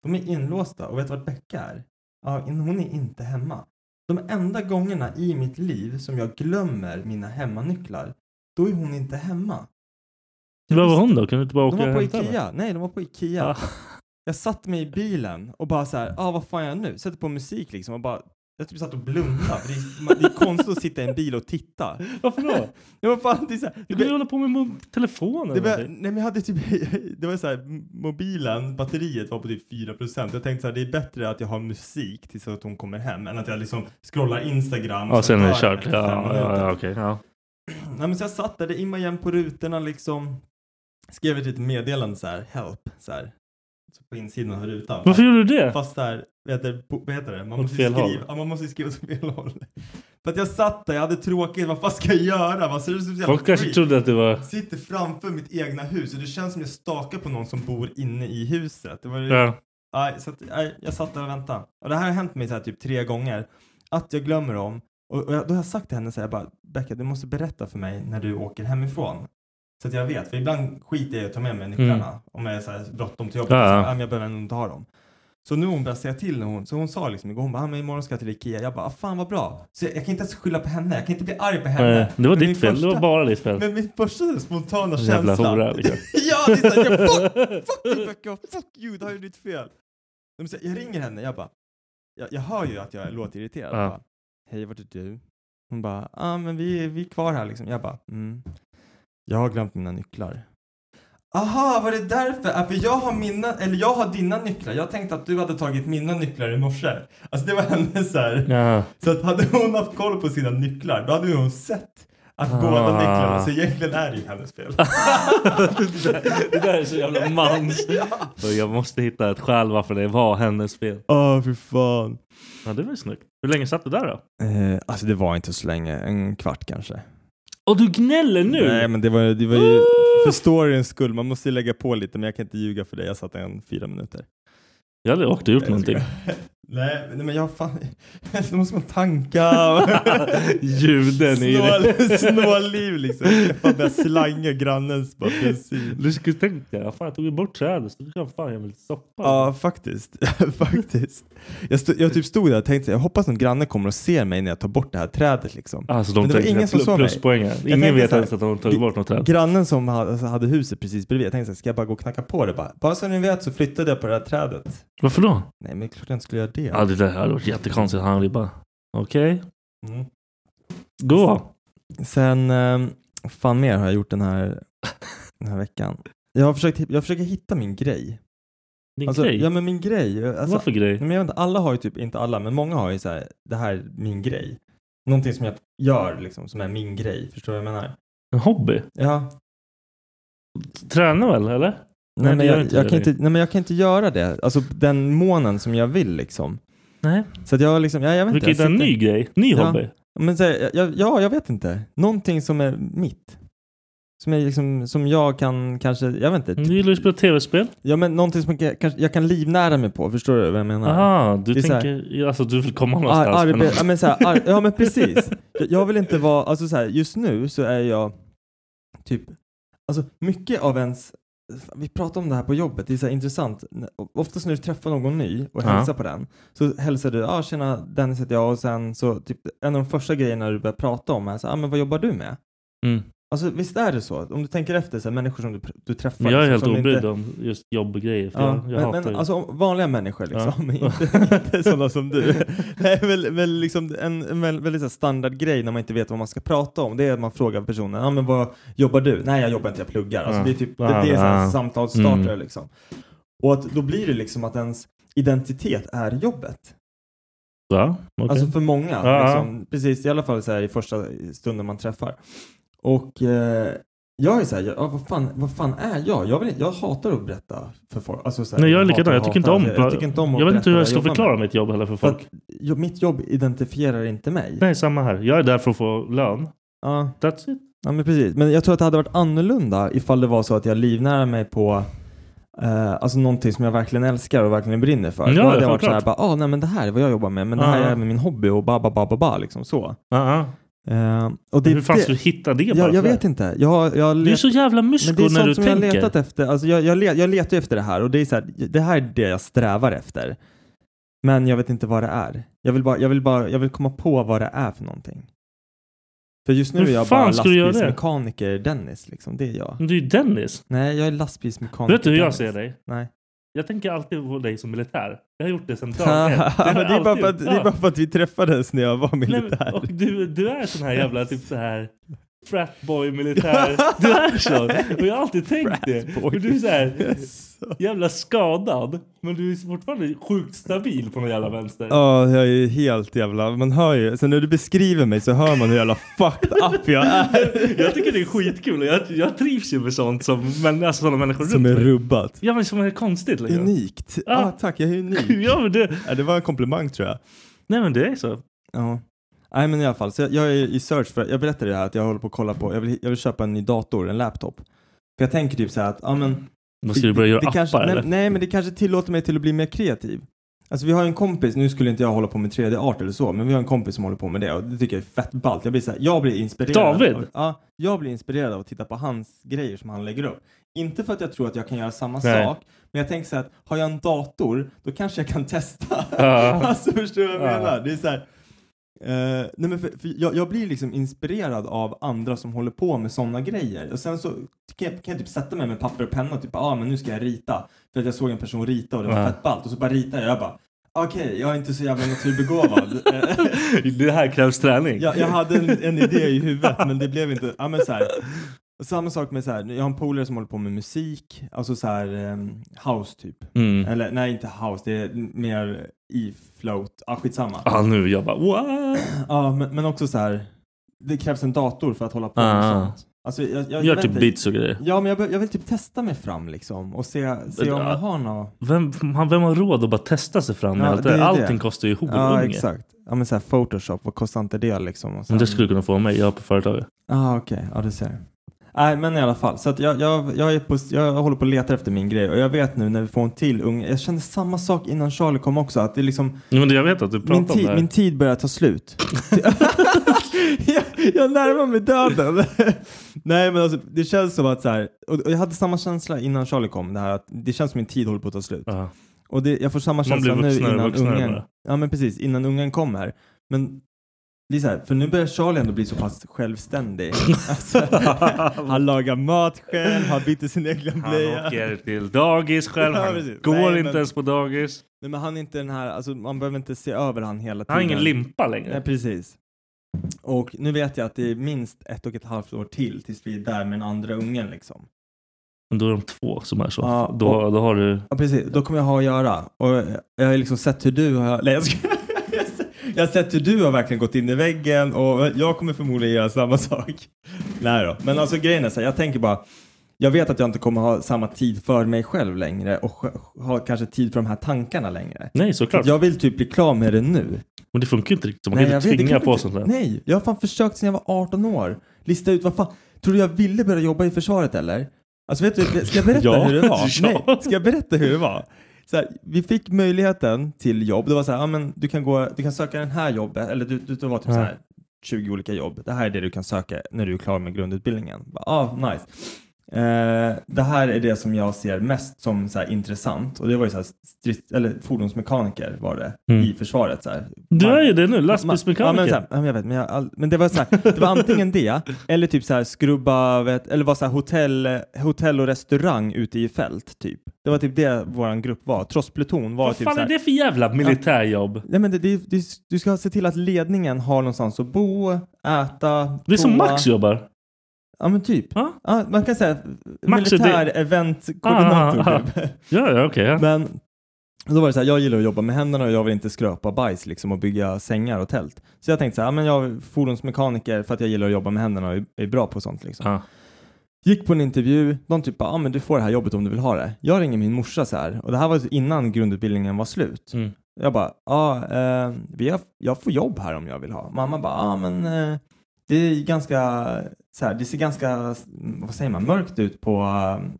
[SPEAKER 3] De är inlåsta och vet du vart Becka är? Ja, in- hon är inte hemma. De enda gångerna i mitt liv som jag glömmer mina hemmanycklar, då är hon inte hemma. Jag
[SPEAKER 2] Var var
[SPEAKER 3] visste-
[SPEAKER 2] hon då? Kunde du inte bara åka
[SPEAKER 3] De var
[SPEAKER 2] och
[SPEAKER 3] på
[SPEAKER 2] hämta henne?
[SPEAKER 3] Ikea. Nej, de var på Ikea.
[SPEAKER 2] Ah.
[SPEAKER 3] Jag satt mig i bilen och bara så här, ah, vad fan gör jag nu? Sätter på musik liksom och bara, jag typ satt och blundade. För det, är, man- det är konstigt att sitta i en bil och titta.
[SPEAKER 2] Varför då?
[SPEAKER 3] Ja, vad fan, det är så här,
[SPEAKER 2] Du kunde ju hålla på med mo- telefonen.
[SPEAKER 3] det
[SPEAKER 2] eller
[SPEAKER 3] var,
[SPEAKER 2] någonting.
[SPEAKER 3] nej men jag hade typ, det var så här, m- mobilen, batteriet var på typ 4%. Jag tänkte så här, det är bättre att jag har musik tills att hon kommer hem än att jag liksom scrollar Instagram.
[SPEAKER 2] Ja,
[SPEAKER 3] och
[SPEAKER 2] sen är det
[SPEAKER 3] dör jag
[SPEAKER 2] kört.
[SPEAKER 3] efter fem
[SPEAKER 2] Ja, ja,
[SPEAKER 3] minuter.
[SPEAKER 2] ja, okej. Ja.
[SPEAKER 3] Nej men så jag satt där, det immade igen på rutorna liksom. Skrev ett litet meddelande så här, help, så här. Så på insidan av rutan.
[SPEAKER 2] Varför gjorde du det?
[SPEAKER 3] Fast där, vad heter, det? På- vad heter det? Man
[SPEAKER 2] Åt
[SPEAKER 3] måste
[SPEAKER 2] fel
[SPEAKER 3] ju skriva,
[SPEAKER 2] håll.
[SPEAKER 3] ja, man måste ju skriva åt fel håll. För att jag satt där, jag hade tråkigt, vad fan ska jag göra? Vad ser ut som en jävla
[SPEAKER 2] Folk kanske
[SPEAKER 3] freak?
[SPEAKER 2] trodde att det var...
[SPEAKER 3] Sitter framför mitt egna hus och det känns som jag stakar på någon som bor inne i huset. Det var ju...
[SPEAKER 2] Ja.
[SPEAKER 3] Aj, så att, aj, jag satt där och väntade. Och det här har hänt mig så här typ tre gånger. Att jag glömmer dem. Och, och jag, då har jag sagt till henne så här bara, Becka du måste berätta för mig när du åker hemifrån. Så att jag vet. För ibland skiter jag i att ta med mig nycklarna. Om jag är så här bråttom till jobbet.
[SPEAKER 2] Mm. Ja, ja.
[SPEAKER 3] Så, här, "Ah, men jag behöver ändå inte ha dem. Så nu har hon börjat säga till när hon, så hon sa liksom igår, hon bara, "Ah, men imorgon ska jag till Ikea. Jag bara, ah, fan vad bra. Så jag, jag kan inte ens skylla på henne. Jag kan inte bli arg på henne.
[SPEAKER 2] Nej, det var
[SPEAKER 3] Men min
[SPEAKER 2] ditt fel. Det var
[SPEAKER 3] första-
[SPEAKER 2] bara ditt fel.
[SPEAKER 3] men min första spontana
[SPEAKER 2] Jävla
[SPEAKER 3] känsla.
[SPEAKER 2] hora, liksom.
[SPEAKER 3] ja, det är såhär, jag, fuck, fuck you Becka, fuck you, det här är ditt fel. De säger, jag ringer henne, jag bara, jag, jag hör ju att jag låter irriterad.
[SPEAKER 2] Ja.
[SPEAKER 3] Jag bara, Hej, vart är du? Hon bara, ah, men vi, vi är kvar här liksom. Jag bara, mm. Jag har glömt mina nycklar. Aha, var det därför? Ja, för jag har mina, eller jag har dina nycklar. Jag tänkte att du hade tagit mina nycklar i morse. Alltså det var hennes så här.
[SPEAKER 2] Ja.
[SPEAKER 3] Så att hade hon haft koll på sina nycklar, då hade ju hon sett att
[SPEAKER 2] Ah.
[SPEAKER 3] båda nycklarna, så egentligen är det ju hennes fel.
[SPEAKER 2] Det där är så jävla mans. Och Jag måste hitta ett skäl varför det var hennes fel.
[SPEAKER 3] Åh, oh, för fan.
[SPEAKER 2] Ja, det var ju snyggt. Hur länge satt du där då?
[SPEAKER 3] Eh, alltså det var inte så länge, en kvart kanske.
[SPEAKER 2] Och du gnäller nu?
[SPEAKER 3] Nej men det var, det var ju,
[SPEAKER 2] Uh!
[SPEAKER 3] för storyns skull, man måste ju lägga på lite men jag kan inte ljuga för dig, jag satt en fyra minuter.
[SPEAKER 2] Jag hade åkt och gjort
[SPEAKER 3] Nej, jag
[SPEAKER 2] någonting.
[SPEAKER 3] skojar. Nej men- nej, men jag har fan, då måste man tanka.
[SPEAKER 2] Ljuden i
[SPEAKER 3] Snål-
[SPEAKER 2] det.
[SPEAKER 3] Snålliv liksom. Jag fan börjar slanga grannens bara bensin.
[SPEAKER 2] Du skulle tänkt dig, fan jag tog ju bort trädet så du kan fan göra lite soppa.
[SPEAKER 3] Ja, faktiskt. faktiskt. Jag, stod, jag typ stod där och tänkte så här, jag hoppas någon granne kommer och ser mig när jag tar bort det här trädet liksom.
[SPEAKER 2] Alltså de
[SPEAKER 3] Men det var
[SPEAKER 2] tänkte
[SPEAKER 3] ingen som
[SPEAKER 2] pl-
[SPEAKER 3] såg mig.
[SPEAKER 2] pluspoängen. Ingen
[SPEAKER 3] tänkte
[SPEAKER 2] vet
[SPEAKER 3] så här,
[SPEAKER 2] ens att de tagit bort något träd.
[SPEAKER 3] Grannen som ha- alltså, hade huset precis bredvid, jag tänkte så här, ska jag bara gå och knacka på det bara? Bara så ni vet så flyttade jag på det här trädet.
[SPEAKER 2] Varför då?
[SPEAKER 3] Nej, men klart jag inte skulle göra det.
[SPEAKER 2] Ja det där hade varit jättekonstigt. Han hade bara, okej,
[SPEAKER 3] Mm. Alltså,
[SPEAKER 2] gå.
[SPEAKER 3] Sen, eh, fan mer har jag gjort den här, den här veckan. Jag har försökt, jag försöker hitta min grej.
[SPEAKER 2] Din
[SPEAKER 3] Alltså,
[SPEAKER 2] grej.
[SPEAKER 3] Ja, men min grej. Alltså,
[SPEAKER 2] Vad för
[SPEAKER 3] Nej,
[SPEAKER 2] grej?
[SPEAKER 3] men jag vet inte, alla har ju typ, inte alla, men många har ju så här, det här är min grej. Någonting som jag gör liksom, som är min grej. Förstår du vad jag menar?
[SPEAKER 2] En hobby?
[SPEAKER 3] Ja.
[SPEAKER 2] Träna väl eller?
[SPEAKER 3] Nej,
[SPEAKER 2] det
[SPEAKER 3] men
[SPEAKER 2] gör
[SPEAKER 3] jag,
[SPEAKER 2] inte
[SPEAKER 3] jag
[SPEAKER 2] det.
[SPEAKER 3] kan inte, nej men jag kan inte göra det. Alltså den månen som jag vill liksom.
[SPEAKER 2] Nej.
[SPEAKER 3] Så att jag liksom, ja, jag vet
[SPEAKER 2] Du
[SPEAKER 3] inte.
[SPEAKER 2] kan
[SPEAKER 3] jag
[SPEAKER 2] hitta en
[SPEAKER 3] sitter-
[SPEAKER 2] ny grej. Ny
[SPEAKER 3] Ja.
[SPEAKER 2] hobby.
[SPEAKER 3] Men så här, jag, ja, jag vet inte. Någonting som är mitt. Som, är liksom, som jag kan kanske, jag vet inte.
[SPEAKER 2] Du gillar ju att spela tv-spel.
[SPEAKER 3] Ja men någonting som jag, kanske, jag kan livnära mig på, förstår du vad jag menar?
[SPEAKER 2] Aha, du
[SPEAKER 3] Det är så här-
[SPEAKER 2] tänker... Alltså du vill komma
[SPEAKER 3] Ar,
[SPEAKER 2] någonstans. men-
[SPEAKER 3] arbe, ja, men så här, ar, ja men precis. Jag, jag vill inte vara, alltså så här, just nu så är jag typ, alltså mycket av ens, vi pratade om det här på jobbet, det är så här intressant. N- Oftast när du träffar någon ny och
[SPEAKER 2] Ja.
[SPEAKER 3] hälsar på den så hälsar du, ja ah, tjena Dennis heter jag och sen så typ en av de första grejerna du börjar prata om är så här, ah, men vad jobbar du med?
[SPEAKER 2] Mm.
[SPEAKER 3] Alltså visst är det så? Om du tänker efter, så här, människor som du, pr- du träffar.
[SPEAKER 2] Men jag är
[SPEAKER 3] liksom,
[SPEAKER 2] helt
[SPEAKER 3] som
[SPEAKER 2] obrydd
[SPEAKER 3] inte-
[SPEAKER 2] om just jobbgrejer. För
[SPEAKER 3] Ja,
[SPEAKER 2] jag, jag
[SPEAKER 3] men,
[SPEAKER 2] hatar
[SPEAKER 3] men
[SPEAKER 2] ju-
[SPEAKER 3] alltså om- vanliga människor liksom,
[SPEAKER 2] Ja.
[SPEAKER 3] inte, inte sådana som du. Nej, väl, väl liksom en, en väl, väldigt så här standardgrej när man inte vet vad man ska prata om, det är att man frågar personen, ja men vad jobbar du? Nej jag jobbar inte, jag pluggar. Alltså,
[SPEAKER 2] Ja.
[SPEAKER 3] det är typ, det,
[SPEAKER 2] Ja,
[SPEAKER 3] det är så här
[SPEAKER 2] ja.
[SPEAKER 3] samtalsstartare
[SPEAKER 2] Mm.
[SPEAKER 3] liksom. Och att, då blir det liksom att ens identitet är jobbet.
[SPEAKER 2] Va? Okej.
[SPEAKER 3] Alltså för många.
[SPEAKER 2] Ja, ja.
[SPEAKER 3] Liksom, precis, i alla fall så här i första stunden man träffar. Och eh, jag är så här, jag, ja, vad, fan, vad fan är jag? Jag, vill, inte- jag hatar att berätta för folk. Alltså, så här,
[SPEAKER 2] Nej jag är
[SPEAKER 3] hatar
[SPEAKER 2] likadan, jag
[SPEAKER 3] att
[SPEAKER 2] tycker inte
[SPEAKER 3] hata.
[SPEAKER 2] om
[SPEAKER 3] jag, jag tycker inte om att
[SPEAKER 2] Jag vet inte hur
[SPEAKER 3] berätta
[SPEAKER 2] jag ska
[SPEAKER 3] vad jobbar
[SPEAKER 2] förklara
[SPEAKER 3] med.
[SPEAKER 2] mitt jobb heller för
[SPEAKER 3] För
[SPEAKER 2] folk.
[SPEAKER 3] att jo, mitt jobb identifierar inte mig.
[SPEAKER 2] Nej samma här, jag är där för att få lön.
[SPEAKER 3] Ja,
[SPEAKER 2] That's it.
[SPEAKER 3] ja, men precis. Men jag tror att det hade varit annorlunda ifall det var så att jag livnär mig på eh, alltså någonting som jag verkligen älskar och verkligen brinner för.
[SPEAKER 2] Ja,
[SPEAKER 3] Då hade jag varit
[SPEAKER 2] självklart.
[SPEAKER 3] så här, bara, ah, nej men det här är vad jag jobbar med, men det här
[SPEAKER 2] Ja, ja.
[SPEAKER 3] är även min hobby och ba ba ba ba ba liksom så.
[SPEAKER 2] Uh-huh.
[SPEAKER 3] Eh, och det,
[SPEAKER 2] hur fan
[SPEAKER 3] det,
[SPEAKER 2] ska du hitta det bara?
[SPEAKER 3] jag, jag vet inte. Jag, jag
[SPEAKER 2] Du är
[SPEAKER 3] let,
[SPEAKER 2] så jävla mysko
[SPEAKER 3] men det är
[SPEAKER 2] när
[SPEAKER 3] sånt
[SPEAKER 2] du
[SPEAKER 3] som
[SPEAKER 2] tänker.
[SPEAKER 3] jag letat efter. Alltså jag, jag, let, jag letar ju efter det här och det är så här, det här är det jag strävar efter. Men jag vet inte vad det är. Jag vill bara, jag vill bara, jag vill komma på vad det är för någonting. För just nu
[SPEAKER 2] Hur
[SPEAKER 3] är jag
[SPEAKER 2] fan
[SPEAKER 3] bara
[SPEAKER 2] ska du göra det?
[SPEAKER 3] lastbilsmekaniker Dennis liksom, det är jag.
[SPEAKER 2] Men du är ju Dennis.
[SPEAKER 3] Nej, jag är lastbilsmekaniker
[SPEAKER 2] Vet du hur jag
[SPEAKER 3] Dennis.
[SPEAKER 2] ser dig?
[SPEAKER 3] Nej.
[SPEAKER 2] Jag tänker alltid på dig som militär. Jag har gjort det sedan
[SPEAKER 3] Det
[SPEAKER 2] dag ett. har jag
[SPEAKER 3] är, bara
[SPEAKER 2] alltid
[SPEAKER 3] för att,
[SPEAKER 2] gjort.
[SPEAKER 3] det är
[SPEAKER 2] Ja.
[SPEAKER 3] bara för att vi träffades när jag var
[SPEAKER 2] Nej,
[SPEAKER 3] militär.
[SPEAKER 2] men- Och du, du är sån här jävla typ så här fratboy militär. Du är så. Och jag har alltid tänkt det.
[SPEAKER 3] Fratboy.
[SPEAKER 2] För du är så här
[SPEAKER 3] Yes.
[SPEAKER 2] jävla skadad. Men du är fortfarande sjukt stabil på någon jävla vänster.
[SPEAKER 3] Ja, jag är ju helt jävla, man hör ju, sen när du beskriver mig så hör man hur jävla fucked up jag är.
[SPEAKER 2] Jag tycker det är skitkul och jag, jag trivs ju med sånt som men, alltså, sådana människor
[SPEAKER 3] Som är
[SPEAKER 2] runt mig.
[SPEAKER 3] rubbat.
[SPEAKER 2] Ja men som är konstigt liksom.
[SPEAKER 3] Unikt. Ja,
[SPEAKER 2] Ah.
[SPEAKER 3] ah, tack, jag är unik.
[SPEAKER 2] Ja men det,
[SPEAKER 3] ja, det var en komplimang tror jag.
[SPEAKER 2] nej men det är så.
[SPEAKER 3] Ja. Nej men i alla fall, så jag, jag är i search för, jag berättade det här att jag håller på att kolla på, jag vill, jag vill köpa en ny dator, en laptop. För jag tänker typ så här att, ja men
[SPEAKER 2] Vad ska du börja göra
[SPEAKER 3] det
[SPEAKER 2] appar
[SPEAKER 3] kanske, nej,
[SPEAKER 2] eller?
[SPEAKER 3] nej men det kanske tillåter mig till att bli mer kreativ. Alltså vi har en kompis, nu skulle inte jag hålla på med 3D-art eller så, men vi har en kompis som håller på med det och det tycker jag är fett ballt. Jag blir, så här, jag blir inspirerad.
[SPEAKER 2] David?
[SPEAKER 3] Av, ja, jag blir inspirerad av att titta på hans grejer som han lägger upp. Inte för att jag tror att jag kan göra samma
[SPEAKER 2] Nej.
[SPEAKER 3] sak, men jag tänker så här att har jag en dator, då kanske jag kan testa.
[SPEAKER 2] Ja.
[SPEAKER 3] alltså förstår du vad jag
[SPEAKER 2] Ja.
[SPEAKER 3] menar? Det är så här, eh, nej men för, för jag, jag blir liksom inspirerad av andra som håller på med sådana grejer och sen så kan jag, kan jag typ sätta mig med papper och penna och typ ah, men nu ska jag rita för att jag såg en person rita och det var
[SPEAKER 2] Ja.
[SPEAKER 3] fett ballt och så bara ritar jag, jag bara okej jag är inte så jävla naturbegåvad. Eh,
[SPEAKER 2] Det här krävs träning.
[SPEAKER 3] jag, jag hade en, en idé i huvudet men det blev inte, ja men så här. Och Samma sak med så här, jag har en polare som håller på med musik, alltså så här ehm, house typ.
[SPEAKER 2] Mm.
[SPEAKER 3] Eller nej inte house, det är mer i float, ah skitsamma.
[SPEAKER 2] Ah, nu jag bara what?
[SPEAKER 3] Ja, men, men också så här. Det krävs en dator för att hålla på med
[SPEAKER 2] Ah.
[SPEAKER 3] sånt. Alltså, jag, jag,
[SPEAKER 2] Gör
[SPEAKER 3] jag
[SPEAKER 2] typ
[SPEAKER 3] vet inte.
[SPEAKER 2] beats och grejer.
[SPEAKER 3] Ja, men jag, be- jag vill typ testa mig fram liksom och se, se om
[SPEAKER 2] äh,
[SPEAKER 3] jag har något.
[SPEAKER 2] Vem, man- vem har råd att bara testa sig fram med
[SPEAKER 3] Ja,
[SPEAKER 2] allt
[SPEAKER 3] det
[SPEAKER 2] det,
[SPEAKER 3] är det.
[SPEAKER 2] Allting kostar ju horunge.
[SPEAKER 3] Ja, exakt. Ja, men så här Photoshop, vad kostar inte det liksom? Och sen...
[SPEAKER 2] Men det skulle du kunna få mig, jag är på företaget.
[SPEAKER 3] Ja, okej. Ja, du ser. Nej, men i alla fall. Så att jag, jag, jag, är på, jag håller på att leta efter min grej och jag vet nu när vi får en till ung. Jag kände samma sak innan Charlie kom också. Att det är liksom,
[SPEAKER 2] Ja, Men jag vet att du pratar
[SPEAKER 3] min,
[SPEAKER 2] om det
[SPEAKER 3] tid,
[SPEAKER 2] här.
[SPEAKER 3] min tid börjar ta slut. jag, jag närmar mig döden. Nej men alltså, det känns som att så här, och, och jag hade samma känsla innan Charlie kom, det här att det känns som min tid håller på att ta slut.
[SPEAKER 2] Ja.
[SPEAKER 3] Och det, jag får samma
[SPEAKER 2] Man
[SPEAKER 3] känsla
[SPEAKER 2] blir
[SPEAKER 3] nu
[SPEAKER 2] vuxnare och
[SPEAKER 3] innan
[SPEAKER 2] vuxnare
[SPEAKER 3] ungen.
[SPEAKER 2] bara.
[SPEAKER 3] Ja men precis, innan ungen kom här. Men det är så här, för nu börjar Charlie ändå bli så pass självständig. alltså, han lagar mat själv, han byter sin egen
[SPEAKER 2] Han
[SPEAKER 3] blöja.
[SPEAKER 2] åker till dagis själv,
[SPEAKER 3] Ja,
[SPEAKER 2] han
[SPEAKER 3] precis.
[SPEAKER 2] går
[SPEAKER 3] Nej, men-
[SPEAKER 2] inte ens på dagis.
[SPEAKER 3] Nej men han är inte den här, alltså man behöver inte se över han hela tiden.
[SPEAKER 2] Han har ingen limpa längre.
[SPEAKER 3] Nej, precis. Och nu vet jag att det är minst ett och ett halvt år till tills vi är där med den andra ungen liksom.
[SPEAKER 2] Men då är de två som är så.
[SPEAKER 3] Ja,
[SPEAKER 2] då, då har du...
[SPEAKER 3] Ja, precis. Då kommer jag ha att göra. Och jag har liksom sett hur du har... Nej, jag ska... Jag har sett hur du har verkligen gått in i väggen och jag kommer förmodligen göra samma sak. Nej då. Men alltså grejen är så här, jag tänker bara, jag vet att jag inte kommer ha samma tid för mig själv längre och sj- ha kanske tid för de här tankarna längre.
[SPEAKER 2] Nej, såklart.
[SPEAKER 3] Jag vill typ bli klar med det nu.
[SPEAKER 2] Men det funkar ju inte riktigt. Man kan
[SPEAKER 3] jag
[SPEAKER 2] inte
[SPEAKER 3] vet, det
[SPEAKER 2] tvinga
[SPEAKER 3] kan
[SPEAKER 2] på
[SPEAKER 3] inte-
[SPEAKER 2] sånt där.
[SPEAKER 3] Nej, jag har fan försökt sedan jag var 18 år. Lista ut vad fan. Tror du jag ville börja jobba i försvaret eller? Alltså vet du, ska jag berätta
[SPEAKER 2] Ja.
[SPEAKER 3] hur det var?
[SPEAKER 2] Ja.
[SPEAKER 3] Nej, ska jag berätta hur det var? Så här, vi fick möjligheten till jobb. Det var så här, ja, men du kan, gå, du kan söka den här jobbet, eller du, du, det var typ
[SPEAKER 2] Ja.
[SPEAKER 3] så här 20 olika jobb. Det här är det du kan söka när du är klar med grundutbildningen. Bara, Ah, nice. Eh, det här är det som jag ser mest som så här, intressant och det var ju så här, strids, eller fordonsmekaniker var det
[SPEAKER 2] Mm.
[SPEAKER 3] i försvaret. Så här.
[SPEAKER 2] Du
[SPEAKER 3] Man-
[SPEAKER 2] är ju det nu,
[SPEAKER 3] Ja, men, så
[SPEAKER 2] lastbilsmekaniker.
[SPEAKER 3] här, ja, men jag vet, men, jag, all- men det var så här, det var antingen det eller typ så här skrubba, vet, eller var så här hotell, hotell och restaurang ute i fält typ. Det var typ det våran grupp var. Trosspluton var
[SPEAKER 2] Vad
[SPEAKER 3] typ
[SPEAKER 2] fan
[SPEAKER 3] så här,
[SPEAKER 2] är det för jävla militärjobb?
[SPEAKER 3] Nej, men det, det, det, du ska se till att ledningen har någonstans att bo, äta,
[SPEAKER 2] Det är som
[SPEAKER 3] toa.
[SPEAKER 2] Max jobbar.
[SPEAKER 3] Ja men typ.
[SPEAKER 2] Ja.
[SPEAKER 3] Ja, man kan säga
[SPEAKER 2] Max är det-
[SPEAKER 3] militär-event-koordinator
[SPEAKER 2] Ah, ah,
[SPEAKER 3] typ.
[SPEAKER 2] Ja, ja, okej. ja.
[SPEAKER 3] Men då var det så här, jag gillar att jobba med händerna och jag vill inte skröpa bajs liksom och bygga sängar och tält. Så jag tänkte så här, ja, men jag är fordonsmekaniker för att jag gillar att jobba med händerna och är- är bra på sånt liksom.
[SPEAKER 2] Ja.
[SPEAKER 3] Gick på en intervju, de typ bara, ah, men du får det här jobbet om du vill ha det. Jag ringer min morsa så här, och det här var innan grundutbildningen var slut.
[SPEAKER 2] Mm.
[SPEAKER 3] Jag bara, ah, eh, vi har, jag får jobb här om jag vill ha. Mamma bara, ah, men eh, det är ganska, så här, det ser ganska, mm, vad säger man, mörkt ut på, eh,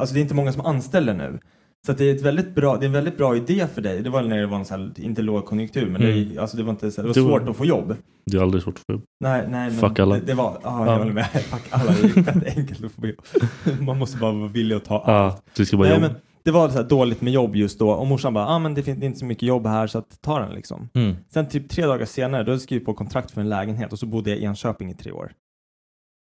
[SPEAKER 3] alltså det är inte många som anställer nu. Så att det är, ett väldigt bra, det är en väldigt bra idé för dig. Det var när det var en så här, inte lågkonjunktur, men
[SPEAKER 2] Mm.
[SPEAKER 3] det, alltså det var, inte, så här, det
[SPEAKER 2] Du-
[SPEAKER 3] var svårt att få jobb.
[SPEAKER 2] Det är aldrig svårt för jobb.
[SPEAKER 3] Nej, nej, men
[SPEAKER 2] Fuck alla.
[SPEAKER 3] Det, det var, ja,
[SPEAKER 2] Ja.
[SPEAKER 3] jag håller med. Fuck alla, det är fett enkelt att få jobb. Man måste bara vara villig att ta allt.
[SPEAKER 2] Ja, du ska bara
[SPEAKER 3] Nej,
[SPEAKER 2] jobba.
[SPEAKER 3] men det var så här dåligt med jobb just då och morsan bara, ah, men det finns det är inte så mycket jobb här så att ta den liksom.
[SPEAKER 2] Mm.
[SPEAKER 3] Sen typ tre dagar senare, då hade jag skrivit på kontrakt för en lägenhet och så bodde jag i Enköping i tre år.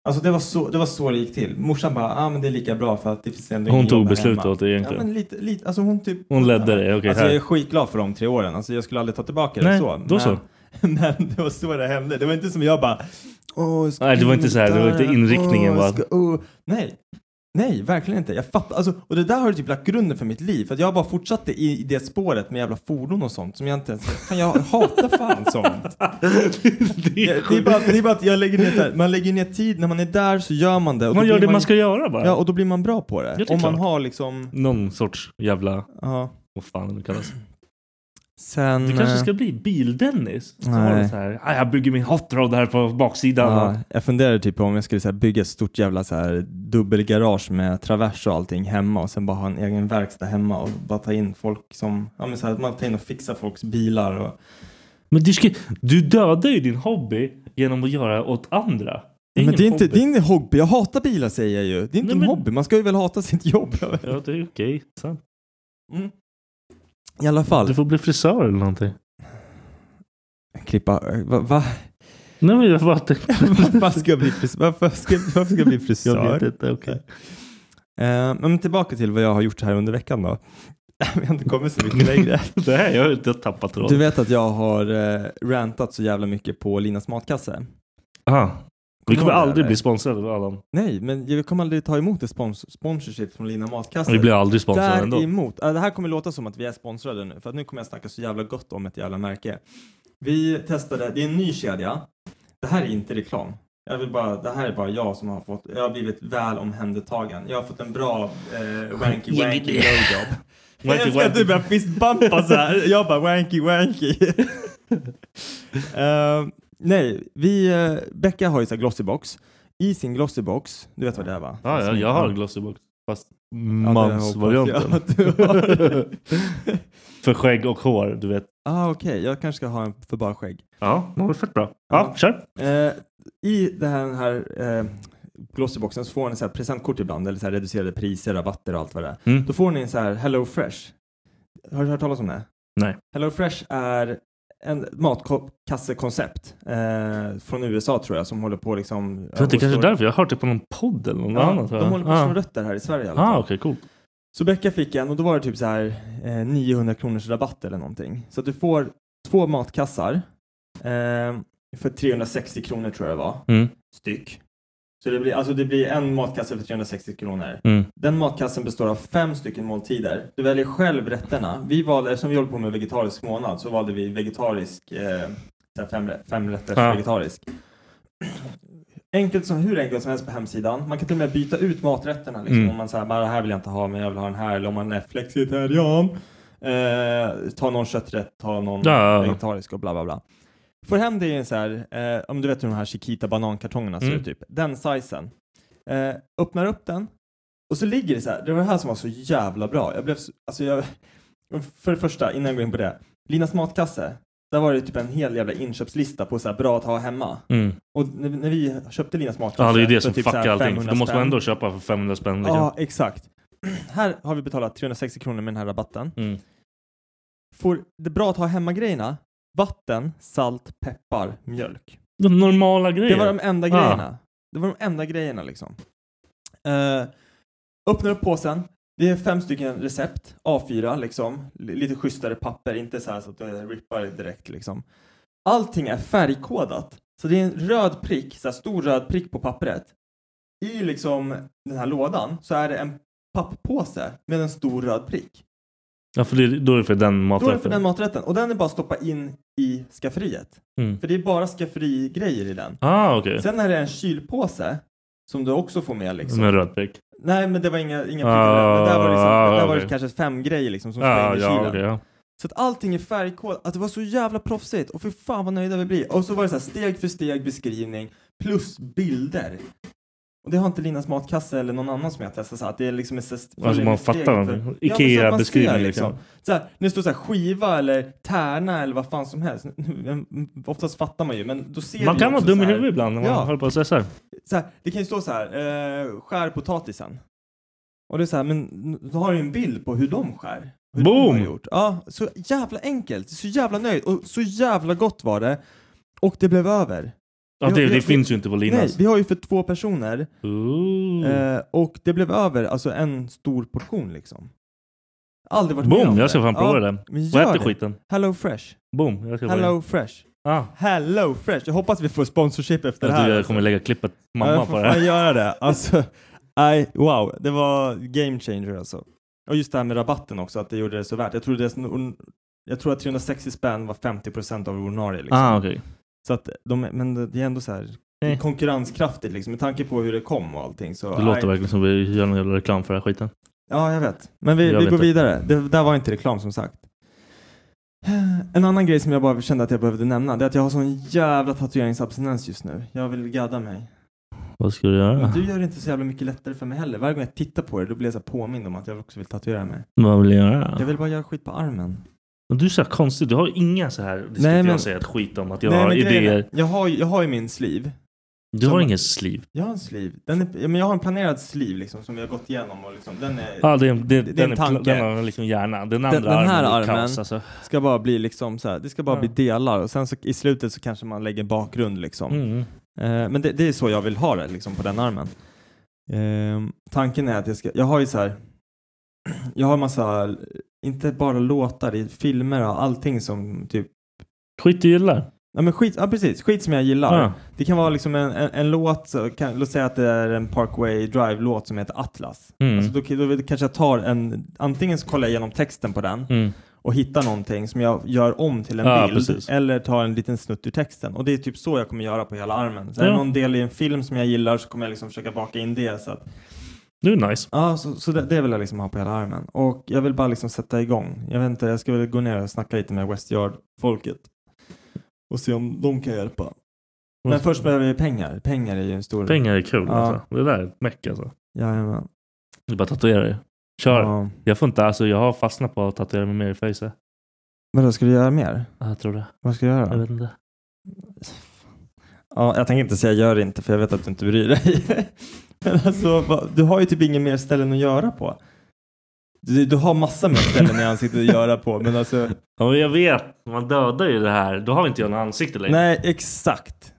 [SPEAKER 3] Alltså det var så det, var så det gick till. Morsan bara, ah, men det är lika bra för att det finns ändå
[SPEAKER 2] Hon
[SPEAKER 3] ingen
[SPEAKER 2] tog
[SPEAKER 3] jobb här
[SPEAKER 2] beslutet
[SPEAKER 3] hemma."
[SPEAKER 2] åt dig egentligen.
[SPEAKER 3] Ja men lite, lite alltså hon typ.
[SPEAKER 2] Hon ledde det, okej,
[SPEAKER 3] alltså
[SPEAKER 2] här.
[SPEAKER 3] jag är skitglad för de tre åren, alltså jag skulle aldrig ta tillbaka det
[SPEAKER 2] Nej,
[SPEAKER 3] så.
[SPEAKER 2] då så.
[SPEAKER 3] Men det var så det hände. Det var inte som jag bara, åh, jag ska
[SPEAKER 2] Nej, det var inte så här, det var inte
[SPEAKER 3] där,
[SPEAKER 2] inriktningen
[SPEAKER 3] åh, jag
[SPEAKER 2] bara.
[SPEAKER 3] Ska, åh. Nej. Nej, verkligen inte. Jag fattar. Alltså, och det där har ju typ lagt grunden för mitt liv. För att jag bara fortsatte i, i det spåret med jävla fordon och sånt som jag inte ens... Fan, jag hatar fan sånt.
[SPEAKER 2] det
[SPEAKER 3] Det, det, är bara, det är bara att jag lägger ner så här, man lägger ner tid. När man är där så gör man det. Och då
[SPEAKER 2] Man gör
[SPEAKER 3] blir
[SPEAKER 2] det man ska göra bara.
[SPEAKER 3] Ja, och då blir man bra på
[SPEAKER 2] Ja,
[SPEAKER 3] det.
[SPEAKER 2] det är
[SPEAKER 3] Om man
[SPEAKER 2] klart.
[SPEAKER 3] har liksom...
[SPEAKER 2] Någon sorts jävla...
[SPEAKER 3] Ja.
[SPEAKER 2] Vad fan det kallas.
[SPEAKER 3] Sen...
[SPEAKER 2] Du kanske
[SPEAKER 3] eh,
[SPEAKER 2] ska bli bil-Dennis? Så
[SPEAKER 3] Nej.
[SPEAKER 2] har du så här, "Ah, jag bygger min hot rod här på baksidan.
[SPEAKER 3] Ja, jag funderade typ på om jag skulle så här, bygga ett stort jävla så här, dubbelgarage med travers och allting hemma och sen bara ha en egen verkstad hemma och bara ta in folk som, ja men så här, att man tar in och fixar folks bilar och
[SPEAKER 2] Men du, ska, du dödar ju din hobby genom att göra åt andra. Det
[SPEAKER 3] Men
[SPEAKER 2] ingen
[SPEAKER 3] det är, inte,
[SPEAKER 2] hobby.
[SPEAKER 3] det är ingen hobby, jag hatar bilar säger jag ju. Det är inte
[SPEAKER 2] Nej,
[SPEAKER 3] en
[SPEAKER 2] men-
[SPEAKER 3] hobby, man ska ju väl hata sitt jobb.
[SPEAKER 2] Ja, det är okej. sant.
[SPEAKER 3] Mm. I alla fall,
[SPEAKER 2] Du får bli frisör eller någonting.
[SPEAKER 3] klippa, eh, va? va?
[SPEAKER 2] Nej men jag bara tänkte...
[SPEAKER 3] varför, ska jag bli frisör? Varför, ska, varför ska jag bli frisör?
[SPEAKER 2] Jag vet inte, okej.
[SPEAKER 3] Eh, men tillbaka till vad jag har gjort här under veckan då. Vi har inte kommit så mycket längre.
[SPEAKER 2] Det här, jag har inte tappat
[SPEAKER 3] Du
[SPEAKER 2] tråden.
[SPEAKER 3] vet att jag har eh, rantat så jävla mycket på Linas matkasse.
[SPEAKER 2] Aha. Vi
[SPEAKER 3] Kommer
[SPEAKER 2] kommer
[SPEAKER 3] du ihåg
[SPEAKER 2] aldrig
[SPEAKER 3] det,
[SPEAKER 2] bli
[SPEAKER 3] eller?
[SPEAKER 2] sponsrade av Adam.
[SPEAKER 3] Nej, men jag kommer aldrig ta emot ett spons- sponsorship från Lina matkasse.
[SPEAKER 2] Vi blir aldrig sponsrade ändå.
[SPEAKER 3] Däremot, äh, det här kommer låta som att vi är sponsrade nu, för att nu kommer jag snacka så jävla gott om ett jävla märke. Vi testade, det är en ny kedja. Det här är inte reklam. Jag vill bara, det här är bara jag som har fått, jag har blivit väl omhändertagen. Jag har fått en bra eh, wanky wanky blowjob. Jag
[SPEAKER 2] Wanky,
[SPEAKER 3] älskar att
[SPEAKER 2] wanky.
[SPEAKER 3] du börjar fistbumpa så här. Jag bara wanky wanky. Eh, nej, vi, eh, Becka har ju så här glossybox. I sin glossybox, du vet vad det är va?
[SPEAKER 2] Ja, ja, jag har en glossybox. Fast mansvarianten. för skägg och hår, du vet.
[SPEAKER 3] Ah, Okej, jag kanske ska ha en för bara skägg.
[SPEAKER 2] Ja, det var fett bra. Ja, Mm.
[SPEAKER 3] Ja.
[SPEAKER 2] kör.
[SPEAKER 3] Eh, I den här, den här eh, glossyboxen så får ni så här presentkort ibland eller så här reducerade priser, rabatter och allt vad det är.
[SPEAKER 2] Mm.
[SPEAKER 3] Då får ni en så här Hello Fresh. Har du hört talas om det?
[SPEAKER 2] Nej.
[SPEAKER 3] Hello Fresh är en matkassekoncept eh, från USA tror jag som håller på liksom.
[SPEAKER 2] Jag tror att det
[SPEAKER 3] och
[SPEAKER 2] kanske är
[SPEAKER 3] slår-
[SPEAKER 2] därför. Jag har hört det på någon podd eller något
[SPEAKER 3] Ja,
[SPEAKER 2] annat.
[SPEAKER 3] de håller på att slå
[SPEAKER 2] ah.
[SPEAKER 3] rötter här i Sverige i alla fall.
[SPEAKER 2] ah, okej, coolt.
[SPEAKER 3] Så Becka fick en och då var det typ så här eh, 900 kronors rabatt eller någonting. Så att du får två matkassar eh, för 360 kronor tror jag det var,
[SPEAKER 2] Mm.
[SPEAKER 3] styck. Så det blir, alltså det blir en matkasse för 360 kronor.
[SPEAKER 2] Mm.
[SPEAKER 3] Den matkassen består av fem stycken måltider. Du väljer själv rätterna. Vi valde, eftersom vi håller på med vegetarisk månad så valde vi vegetarisk, eh, så här fem, fem rätters
[SPEAKER 2] Ja.
[SPEAKER 3] vegetarisk. Enkelt som, hur enkelt som helst på hemsidan. Man kan till och med byta ut maträtterna. Liksom.
[SPEAKER 2] Mm.
[SPEAKER 3] Om man säger bara det här vill jag inte ha men jag vill ha den här. Eller om man är flexitarian. Eh, ta någon kötträtt, ta någon
[SPEAKER 2] Ja, ja, ja.
[SPEAKER 3] vegetarisk och bla bla bla. Får hem det i en så här, eh, om du vet hur de här Chiquita banankartongerna ser
[SPEAKER 2] Mm.
[SPEAKER 3] ut typ. Den sizen. Eh, öppnar upp den och så ligger det så här, det var det här som var så jävla bra. Jag blev, så- alltså jag, för det första, innan jag går in på det. Linas matkasse, Där var det typ en hel jävla inköpslista på så här bra att ha hemma.
[SPEAKER 2] Mm.
[SPEAKER 3] Och när, när vi köpte Linas matkasse.
[SPEAKER 2] Ja, det är ju det
[SPEAKER 3] för
[SPEAKER 2] som
[SPEAKER 3] typ så
[SPEAKER 2] fuckar
[SPEAKER 3] här
[SPEAKER 2] allting.
[SPEAKER 3] 500
[SPEAKER 2] Då måste man
[SPEAKER 3] spänn.
[SPEAKER 2] ändå köpa för 500 spänn. liksom.
[SPEAKER 3] Ja, exakt. Här har vi betalat 360 kronor med den här rabatten.
[SPEAKER 2] Mm.
[SPEAKER 3] Får det bra att ha hemma-grejerna? Vatten, salt, peppar, mjölk.
[SPEAKER 2] De normala
[SPEAKER 3] Det
[SPEAKER 2] grejerna.
[SPEAKER 3] var de enda
[SPEAKER 2] Ja.
[SPEAKER 3] grejerna. Det var de enda grejerna liksom. Eh, öppnar upp påsen. Det är fem stycken recept, A4 liksom. L- lite schysstare papper, inte så här så att det rippar direkt liksom. Allting är färgkodat. Så det är en röd prick, så här stor röd prick på pappret. I liksom den här lådan så är det en papppåse med en stor röd prick.
[SPEAKER 2] Ja, för det, då är det för den
[SPEAKER 3] Då är det
[SPEAKER 2] maträtten.
[SPEAKER 3] för den maträtten och den är bara att stoppa in i skafferiet.
[SPEAKER 2] Mm.
[SPEAKER 3] För det är bara skafferigrejer i den.
[SPEAKER 2] Ah, okej.
[SPEAKER 3] Sen är det en kylpåse som du också får med liksom.
[SPEAKER 2] Med röd prick.
[SPEAKER 3] Nej men det var inga, inga
[SPEAKER 2] Ah,
[SPEAKER 3] prickar. Men där var, liksom,
[SPEAKER 2] ah,
[SPEAKER 3] där var det
[SPEAKER 2] okej.
[SPEAKER 3] kanske fem grejer liksom som ska
[SPEAKER 2] Ja,
[SPEAKER 3] in i
[SPEAKER 2] Ah, ja,
[SPEAKER 3] kylen.
[SPEAKER 2] okej. ja.
[SPEAKER 3] Så att allting är färgkodat. Att det var så jävla proffsigt och för fan vad nöjda vi blir. Och så var det så här steg för steg beskrivning plus bilder. Och det har inte Linas matkasse eller någon annan som jag testat så här, att det är liksom en
[SPEAKER 2] Alltså man fattar någonting. Ikea-beskrivning liksom.
[SPEAKER 3] så här, när det står så här skiva eller tärna eller vad fan som helst. Oftast fattar man ju men då ser
[SPEAKER 2] Man
[SPEAKER 3] du
[SPEAKER 2] kan
[SPEAKER 3] ju
[SPEAKER 2] vara
[SPEAKER 3] också
[SPEAKER 2] dum
[SPEAKER 3] så
[SPEAKER 2] i
[SPEAKER 3] här-
[SPEAKER 2] huvudet ibland när man
[SPEAKER 3] Ja.
[SPEAKER 2] håller på och stressar.
[SPEAKER 3] så här, det kan ju stå så här, eh, skär potatisen. Och det är så här, men då har du ju en bild på hur de skär. Hur
[SPEAKER 2] Boom!
[SPEAKER 3] De har gjort. Ja, så jävla enkelt, så jävla nöjd och så jävla gott var det. Och det blev över.
[SPEAKER 2] Ja,
[SPEAKER 3] Jag-
[SPEAKER 2] det, det Mm.
[SPEAKER 3] jag-
[SPEAKER 2] finns ju inte på
[SPEAKER 3] Nej,
[SPEAKER 2] Linas.
[SPEAKER 3] vi har ju för två personer
[SPEAKER 2] Ooh.
[SPEAKER 3] eh, och det blev över, alltså en stor portion liksom. Aldrig varit med om
[SPEAKER 2] Boom,
[SPEAKER 3] det.
[SPEAKER 2] jag ska fan prova det.
[SPEAKER 3] men
[SPEAKER 2] Vad
[SPEAKER 3] gör
[SPEAKER 2] heter
[SPEAKER 3] det.
[SPEAKER 2] skiten?
[SPEAKER 3] Hello Fresh.
[SPEAKER 2] Boom, jag ska prova det.
[SPEAKER 3] Hello Fresh.
[SPEAKER 2] Ah,
[SPEAKER 3] Hello Fresh. Jag hoppas vi får sponsorship efter
[SPEAKER 2] jag
[SPEAKER 3] det här.
[SPEAKER 2] tror jag
[SPEAKER 3] alltså.
[SPEAKER 2] kommer lägga klippet
[SPEAKER 3] Ja,
[SPEAKER 2] mamma
[SPEAKER 3] jag
[SPEAKER 2] på
[SPEAKER 3] får
[SPEAKER 2] det här.
[SPEAKER 3] fan göra det. Alltså, nej, wow. Det var game changer alltså. Och just det här med rabatten också, att det gjorde det så värt. Jag tror, det, jag tror att 360 spänn var 50% av ordinarie. Liksom.
[SPEAKER 2] Ah, okej.
[SPEAKER 3] Så att de, men det är ändå så här det är
[SPEAKER 2] Nej.
[SPEAKER 3] konkurrenskraftigt liksom, med tanke på hur det kom och allting. Så,
[SPEAKER 2] Det
[SPEAKER 3] nej.
[SPEAKER 2] låter verkligen som vi gör någon jävla reklam för den här skiten.
[SPEAKER 3] Ja, jag vet. Men vi,
[SPEAKER 2] Jag
[SPEAKER 3] vi
[SPEAKER 2] vet
[SPEAKER 3] går
[SPEAKER 2] det.
[SPEAKER 3] vidare. Det där var inte reklam som sagt. En annan grej som jag bara kände att jag behövde nämna, det är att jag har sån jävla tatueringsabstinens just nu. Jag vill gadda mig.
[SPEAKER 2] Vad ska du göra?
[SPEAKER 3] Men du gör det inte så jävla mycket lättare för mig heller. Varje gång jag tittar på det då blir jag så här påmind om att jag också vill tatuera mig.
[SPEAKER 2] Vad vill du
[SPEAKER 3] Jag
[SPEAKER 2] göra?
[SPEAKER 3] vill bara göra skit på armen.
[SPEAKER 2] Men Du är så här konstig. Du har ju inga så här... Det ska
[SPEAKER 3] Nej,
[SPEAKER 2] inte
[SPEAKER 3] men-
[SPEAKER 2] jag säga ett skit om att jag
[SPEAKER 3] Nej,
[SPEAKER 2] har
[SPEAKER 3] men grejen är-
[SPEAKER 2] idéer.
[SPEAKER 3] Jag har, ju- jag har ju min sliv.
[SPEAKER 2] Du har
[SPEAKER 3] Som-
[SPEAKER 2] ingen sliv.
[SPEAKER 3] Jag har en sliv. Den är, ja, men jag har en planerad sliv liksom som vi har gått igenom och liksom den är,
[SPEAKER 2] Ja, det, är- det,
[SPEAKER 3] är
[SPEAKER 2] det,
[SPEAKER 3] en
[SPEAKER 2] den, är, pl-
[SPEAKER 3] tanke.
[SPEAKER 2] den har liksom hjärna. Den andra
[SPEAKER 3] Den- den
[SPEAKER 2] armen,
[SPEAKER 3] här
[SPEAKER 2] är
[SPEAKER 3] armen-
[SPEAKER 2] kaos alltså.
[SPEAKER 3] ska bara bli liksom så här, det ska bara
[SPEAKER 2] Ja.
[SPEAKER 3] bli delar och sen så i slutet så kanske man lägger bakgrund liksom.
[SPEAKER 2] Mm.
[SPEAKER 3] Eh, men det, det är så jag vill ha det liksom på den armen. Ehm, tanken är att jag ska, jag har ju så här, jag har massa, inte bara låtar, i filmer och allting som typ
[SPEAKER 2] Skit du gillar. Ah,
[SPEAKER 3] Ja men skit, ja precis, skit som jag gillar.
[SPEAKER 2] Ja.
[SPEAKER 3] Det kan vara liksom en, en, en låt, så kan, låt säga att det är en Parkway Drive-låt som heter Atlas.
[SPEAKER 2] Mm.
[SPEAKER 3] Alltså då, då kanske jag tar en, antingen så kollar jag igenom texten på den
[SPEAKER 2] Mm.
[SPEAKER 3] och hittar någonting som jag gör om till en
[SPEAKER 2] Ja,
[SPEAKER 3] bild.
[SPEAKER 2] precis.
[SPEAKER 3] Eller tar en liten snutt ur texten. Och det är typ så jag kommer göra på hela armen. Så är
[SPEAKER 2] Ja.
[SPEAKER 3] det någon del i en film som jag gillar så kommer jag liksom försöka baka in det. Så, att,
[SPEAKER 2] Det är nice.
[SPEAKER 3] ja, så, så det, det vill jag liksom ha på hela armen. Och jag vill bara liksom sätta igång. Jag vet inte, jag ska väl gå ner och snacka lite med Westyard-folket. Och se om de kan hjälpa. Men först behöver vi pengar. Pengar är ju en stor...
[SPEAKER 2] Mm. Pengar är kul
[SPEAKER 3] Ja.
[SPEAKER 2] alltså. Det där är ett meck alltså.
[SPEAKER 3] Jajamän.
[SPEAKER 2] Det är bara att tatuera dig. Kör.
[SPEAKER 3] Ja.
[SPEAKER 2] Jag får inte, alltså jag har fastnat på att tatuera mig mer i face.
[SPEAKER 3] Vadå, ska du göra mer?
[SPEAKER 2] Ja, Jag tror det.
[SPEAKER 3] Vad ska du
[SPEAKER 2] Jag
[SPEAKER 3] göra?
[SPEAKER 2] vet inte.
[SPEAKER 3] Ja, jag tänker inte säga gör det inte för jag vet att du inte bryr dig. Men alltså, va- du har ju typ inga mer ställen att göra på. Du, du har massa mer ställen i ansiktet att göra på, men alltså...
[SPEAKER 2] Ja, men jag vet. Man dödar ju det här. Då har inte jag något ansikte längre.
[SPEAKER 3] Nej, exakt.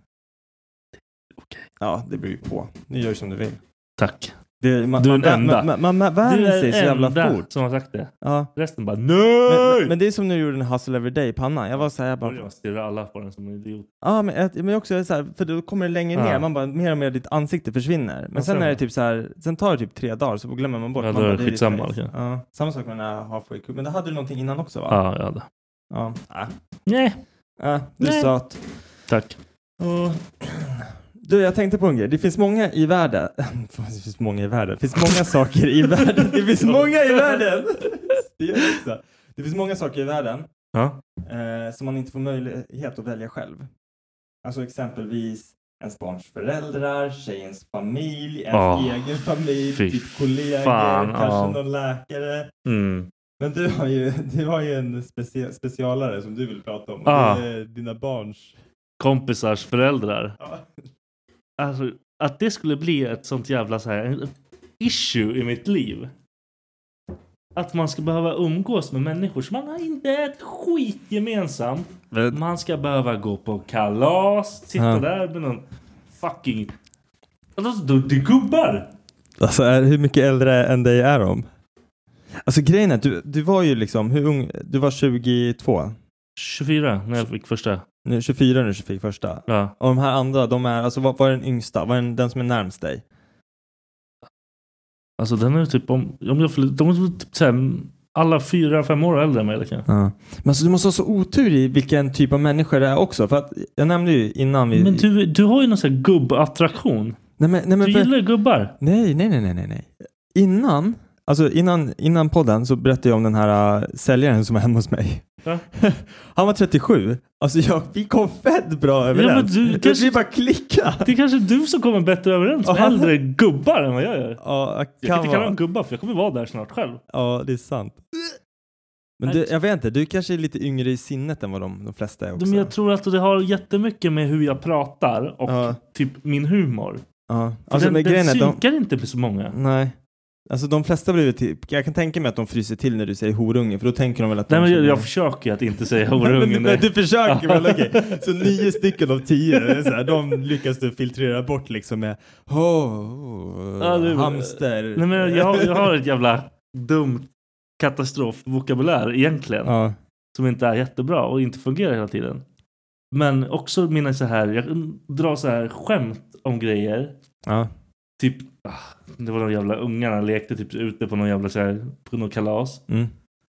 [SPEAKER 3] Ja, det beror ju på. Nu gör du som du vill.
[SPEAKER 2] Tack.
[SPEAKER 3] Det, man,
[SPEAKER 2] Du är
[SPEAKER 3] man,
[SPEAKER 2] den enda.
[SPEAKER 3] Man, man, man, man vänjer sig så jävla fort.
[SPEAKER 2] som har sagt det.
[SPEAKER 3] Ja.
[SPEAKER 2] Resten bara
[SPEAKER 3] Men,
[SPEAKER 2] NEJ!
[SPEAKER 3] men, men det är som när du gjorde den Hustle Every Day-pannan. Jag var så här, jag bara...
[SPEAKER 2] Jag stirrar alla på den som en idiot.
[SPEAKER 3] Ja, men, jag- men också så här, för då kommer det längre
[SPEAKER 2] Ja.
[SPEAKER 3] ner, man bara, mer och mer ditt ansikte försvinner. Men
[SPEAKER 2] Ja,
[SPEAKER 3] sen
[SPEAKER 2] så.
[SPEAKER 3] är det typ så här, sen tar det typ tre dagar så glömmer man bort.
[SPEAKER 2] Ja,
[SPEAKER 3] man
[SPEAKER 2] då är
[SPEAKER 3] bara,
[SPEAKER 2] det
[SPEAKER 3] ditt
[SPEAKER 2] skitsamma,
[SPEAKER 3] face.
[SPEAKER 2] liksom.
[SPEAKER 3] Ja. Samma sak med den här halfway crew, men då hade du någonting innan också va?
[SPEAKER 2] Ja, jag hade.
[SPEAKER 3] Ja. Äh.
[SPEAKER 2] Nej.
[SPEAKER 3] Äh, du är
[SPEAKER 2] Nej.
[SPEAKER 3] söt.
[SPEAKER 2] Tack.
[SPEAKER 3] Och- Du, jag tänkte på en grej. Det finns många i världen. Det finns många i världen. Det finns många saker i världen. Det finns många i världen. Det, gör jag också. det finns många saker i världen
[SPEAKER 2] Ja.
[SPEAKER 3] eh, som man inte får möjlighet att välja själv. Alltså exempelvis ens barns föräldrar, tjejens familj, ens
[SPEAKER 2] Åh,
[SPEAKER 3] egen familj,
[SPEAKER 2] fy
[SPEAKER 3] typ kollegor,
[SPEAKER 2] fan,
[SPEAKER 3] kanske
[SPEAKER 2] ja.
[SPEAKER 3] någon läkare.
[SPEAKER 2] Mm.
[SPEAKER 3] Men du har ju, du har ju en specie- specialare som du vill prata om. och
[SPEAKER 2] Ah.
[SPEAKER 3] Det är dina barns...
[SPEAKER 2] Kompisars föräldrar.
[SPEAKER 3] Ja.
[SPEAKER 2] Alltså, att det skulle bli ett sånt jävla så här, en- ett issue i mitt liv. Att man ska behöva umgås med människor som man har inte ett skit gemensamt. Man ska behöva gå på kalas, sitta
[SPEAKER 3] Ja.
[SPEAKER 2] där med någon fucking... Alltså, då- det är gubbar!
[SPEAKER 3] Alltså är, hur mycket äldre än dig är de? Alltså grejen är att du, du var ju liksom, hur ung, du var 22,
[SPEAKER 2] 24 när jag fick första.
[SPEAKER 3] nu, 24 när du fick första.
[SPEAKER 2] Ja.
[SPEAKER 3] Och de här andra, de är, alltså vad, vad är den yngsta? Vad är den, den som är närmst dig?
[SPEAKER 2] Alltså den är ju typ om... om jag, förlor- de är typ så här, alla fyra, fem år äldre än mig. eller kanske.
[SPEAKER 3] Men alltså du måste ha så otur i vilken typ av människor det är också. För att jag nämnde ju innan vi...
[SPEAKER 2] Men du, du har ju någon sån här gubbattraktion.
[SPEAKER 3] nej, men, nej, men,
[SPEAKER 2] Du gillar ju gubbar.
[SPEAKER 3] Nej, nej, nej, nej, nej, nej. Innan, alltså innan, innan podden så berättade jag om den här äh, säljaren som var hemma hos mig.
[SPEAKER 2] Ja.
[SPEAKER 3] Han var 37. Alltså jag, vi kom fett bra överens.
[SPEAKER 2] men du-
[SPEAKER 3] det
[SPEAKER 2] kanske-
[SPEAKER 3] blir bara klicka.
[SPEAKER 2] Det är kanske du som kommer bättre överens med
[SPEAKER 3] Ja.
[SPEAKER 2] äldre gubbar än vad jag gör.
[SPEAKER 3] Ja,
[SPEAKER 2] Jag kan
[SPEAKER 3] kan
[SPEAKER 2] inte kalla
[SPEAKER 3] vara.
[SPEAKER 2] dem gubbar för jag kommer vara där snart själv.
[SPEAKER 3] Ja, det är sant. Men du, jag vet inte, du kanske är lite yngre i sinnet än vad de, de flesta är också.
[SPEAKER 2] Men jag tror att det har jättemycket med hur jag pratar och
[SPEAKER 3] Ja.
[SPEAKER 2] typ min humor.
[SPEAKER 3] ja.
[SPEAKER 2] För
[SPEAKER 3] alltså,
[SPEAKER 2] den
[SPEAKER 3] men
[SPEAKER 2] den
[SPEAKER 3] grejen är att de,
[SPEAKER 2] synkar inte med så många.
[SPEAKER 3] Nej. Alltså de flesta blir typ, jag kan tänka mig att de fryser till när du säger horunge för då tänker de väl att de
[SPEAKER 2] Nej, men jag,
[SPEAKER 3] känner-
[SPEAKER 2] jag försöker ju att inte säga
[SPEAKER 3] Men,
[SPEAKER 2] horungen.
[SPEAKER 3] men du
[SPEAKER 2] Nej.
[SPEAKER 3] försöker väl? okej. Så nio stycken av tio, det är så här, de lyckas du filtrera bort liksom med oh,
[SPEAKER 2] Ja, du-
[SPEAKER 3] hamster.
[SPEAKER 2] Nej, men jag, har- jag har ett jävla dumt katastrofvokabulär egentligen.
[SPEAKER 3] Ja.
[SPEAKER 2] Som inte är jättebra och inte fungerar hela tiden. Men också mina så här, jag drar så här skämt om grejer
[SPEAKER 3] Ja.
[SPEAKER 2] Typ, ah, det var de jävla ungarna lekte typ ute på någon jävla så här, på någon kalas.
[SPEAKER 3] Mm.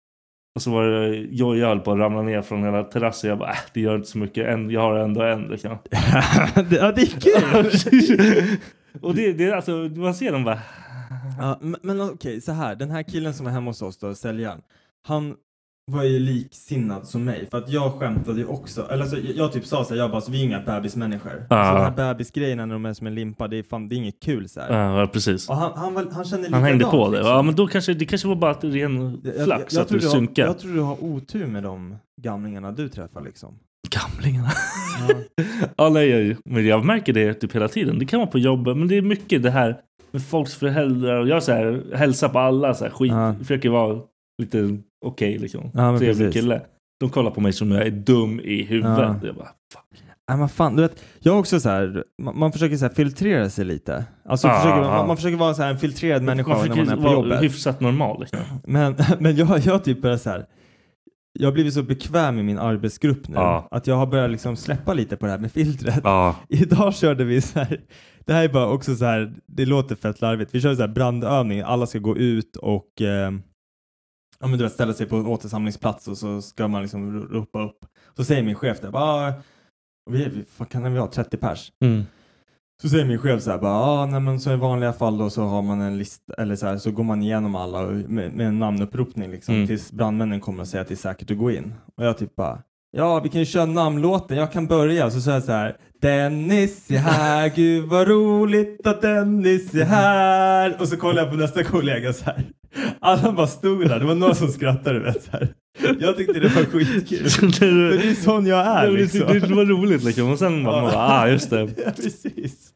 [SPEAKER 2] Och så var det, jag, jag höll på att ramla ner från hela terrassen. Jag bara, äh, det gör inte så mycket. En, jag har ändå en liksom.
[SPEAKER 3] det, ja, det är kul!
[SPEAKER 2] Och det, det är alltså, man ser dem bara,
[SPEAKER 3] ja, men men okej, så här. Den här killen som är hemma hos oss då, säljaren. Han var ju liksinnad som mig för att jag skämtade ju också. Eller alltså, jag, jag typ sa så här, jag bara, alltså, vi är inga bebismänniskor.
[SPEAKER 2] Ja.
[SPEAKER 3] Så de här bebisgrejerna när de är som en limpa, det är fan, det är inget kul så här.
[SPEAKER 2] ja precis.
[SPEAKER 3] Och han, han, var, han kände
[SPEAKER 2] Han hängde
[SPEAKER 3] likadant,
[SPEAKER 2] på det.
[SPEAKER 3] liksom.
[SPEAKER 2] Ja men då kanske, det kanske var bara ett ren
[SPEAKER 3] Jag- jag-
[SPEAKER 2] flax
[SPEAKER 3] jag
[SPEAKER 2] att
[SPEAKER 3] tror
[SPEAKER 2] du
[SPEAKER 3] har-
[SPEAKER 2] synkar.
[SPEAKER 3] Jag tror du har otur med de gamlingarna du träffar liksom.
[SPEAKER 2] Gamlingarna. ja, nej, jag, men jag märker det typ hela tiden. Det kan vara på jobbet, men det är mycket det här med folks föräldrar. Och jag så här, hälsar på alla, så här, skit,
[SPEAKER 3] Ja.
[SPEAKER 2] försöker vara lite okej liksom.
[SPEAKER 3] Ja, men
[SPEAKER 2] Trevlig
[SPEAKER 3] precis.
[SPEAKER 2] kille. De kollar på mig som jag är dum i huvudet.
[SPEAKER 3] Ja.
[SPEAKER 2] Jag bara, fuck.
[SPEAKER 3] Nej men fan, du vet, jag har också så här, man, man försöker så här filtrera sig lite. Alltså
[SPEAKER 2] Ah,
[SPEAKER 3] försöker,
[SPEAKER 2] ah.
[SPEAKER 3] man, man försöker vara så här en filtrerad människa
[SPEAKER 2] Man
[SPEAKER 3] när man är
[SPEAKER 2] försöker
[SPEAKER 3] på
[SPEAKER 2] vara
[SPEAKER 3] jobbet.
[SPEAKER 2] hyfsat normal. Liksom.
[SPEAKER 3] Men, men jag, jag typ börjar så här, jag har blivit så bekväm i min arbetsgrupp nu
[SPEAKER 2] Ja.
[SPEAKER 3] att jag har börjat liksom släppa lite på det här med filtret.
[SPEAKER 2] Ja.
[SPEAKER 3] Idag körde vi så här, det här är bara också så här, det låter fett larvigt. Vi körde så här brandövning, alla ska gå ut och eh, ja, men du vet, ställa sig på en återsamlingsplats och så ska man liksom ro- ropa upp. Så säger min chef där, bara, "Ah, vi, vi, vad kan vi ha, 30 pers?
[SPEAKER 2] Mm.
[SPEAKER 3] Så säger min chef så här, bara, ah, nej, men så i vanliga fall då så har man en lista, eller så här, så går man igenom alla och- med, med en namnuppropning liksom,
[SPEAKER 2] Mm.
[SPEAKER 3] tills brandmännen kommer och säger att det är säkert att gå in. Och jag typ bara, ja vi kan ju köra namnlåten, jag kan börja. Så säger jag så här, Dennis är här, gud vad roligt att Dennis är här. Och så kollar jag på nästa kollega så här. Alla bara stod där, det var några som skrattade du vet så här. Jag tyckte det var skitkul.
[SPEAKER 2] Så det-
[SPEAKER 3] För det är sån jag är
[SPEAKER 2] det,
[SPEAKER 3] liksom.
[SPEAKER 2] det, det var roligt liksom. Och sen bara,
[SPEAKER 3] Ja.
[SPEAKER 2] man bara, ah, just det.
[SPEAKER 3] Ja, precis.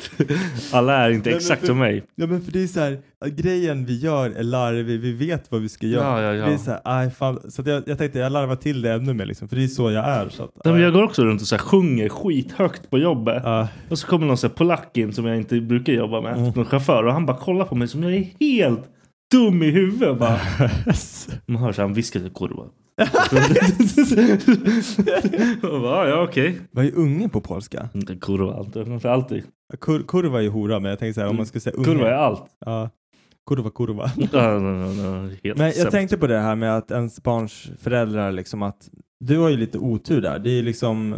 [SPEAKER 2] Alla är inte
[SPEAKER 3] Nej, men
[SPEAKER 2] exakt
[SPEAKER 3] för-
[SPEAKER 2] som mig.
[SPEAKER 3] Ja men för det är så här, att grejen vi gör är larvig, vi vet vad vi ska göra.
[SPEAKER 2] Ja, ja, ja.
[SPEAKER 3] Det är så här, aj, fan. Så att jag, jag tänkte jag larvar till det ännu mer liksom, för det är så jag är. Så att,
[SPEAKER 2] Nej,
[SPEAKER 3] aj.
[SPEAKER 2] men jag går också runt och så här, sjunger skithögt på jobbet.
[SPEAKER 3] Ja.
[SPEAKER 2] Och så kommer någon så här polack in som jag inte brukar jobba med.
[SPEAKER 3] Mm.
[SPEAKER 2] Någon chaufför. Och han bara kollar på mig som jag är helt dum i huvudet. Bara. Man hör så här, han viskar till korva. Och bara, ja okej.
[SPEAKER 3] Vad är unge på polska?
[SPEAKER 2] Inte Kurva alltid. Alltid.
[SPEAKER 3] Kur, kurva är ju hora, men jag tänker så här, om man ska säga unge.
[SPEAKER 2] Mm. Kurva är allt.
[SPEAKER 3] Ja. Kurva, kurva.
[SPEAKER 2] Ja, no, no, no, helt
[SPEAKER 3] Men jag
[SPEAKER 2] sämst.
[SPEAKER 3] tänkte på det här med att ens barns föräldrar liksom att du har ju lite otur där. Det är liksom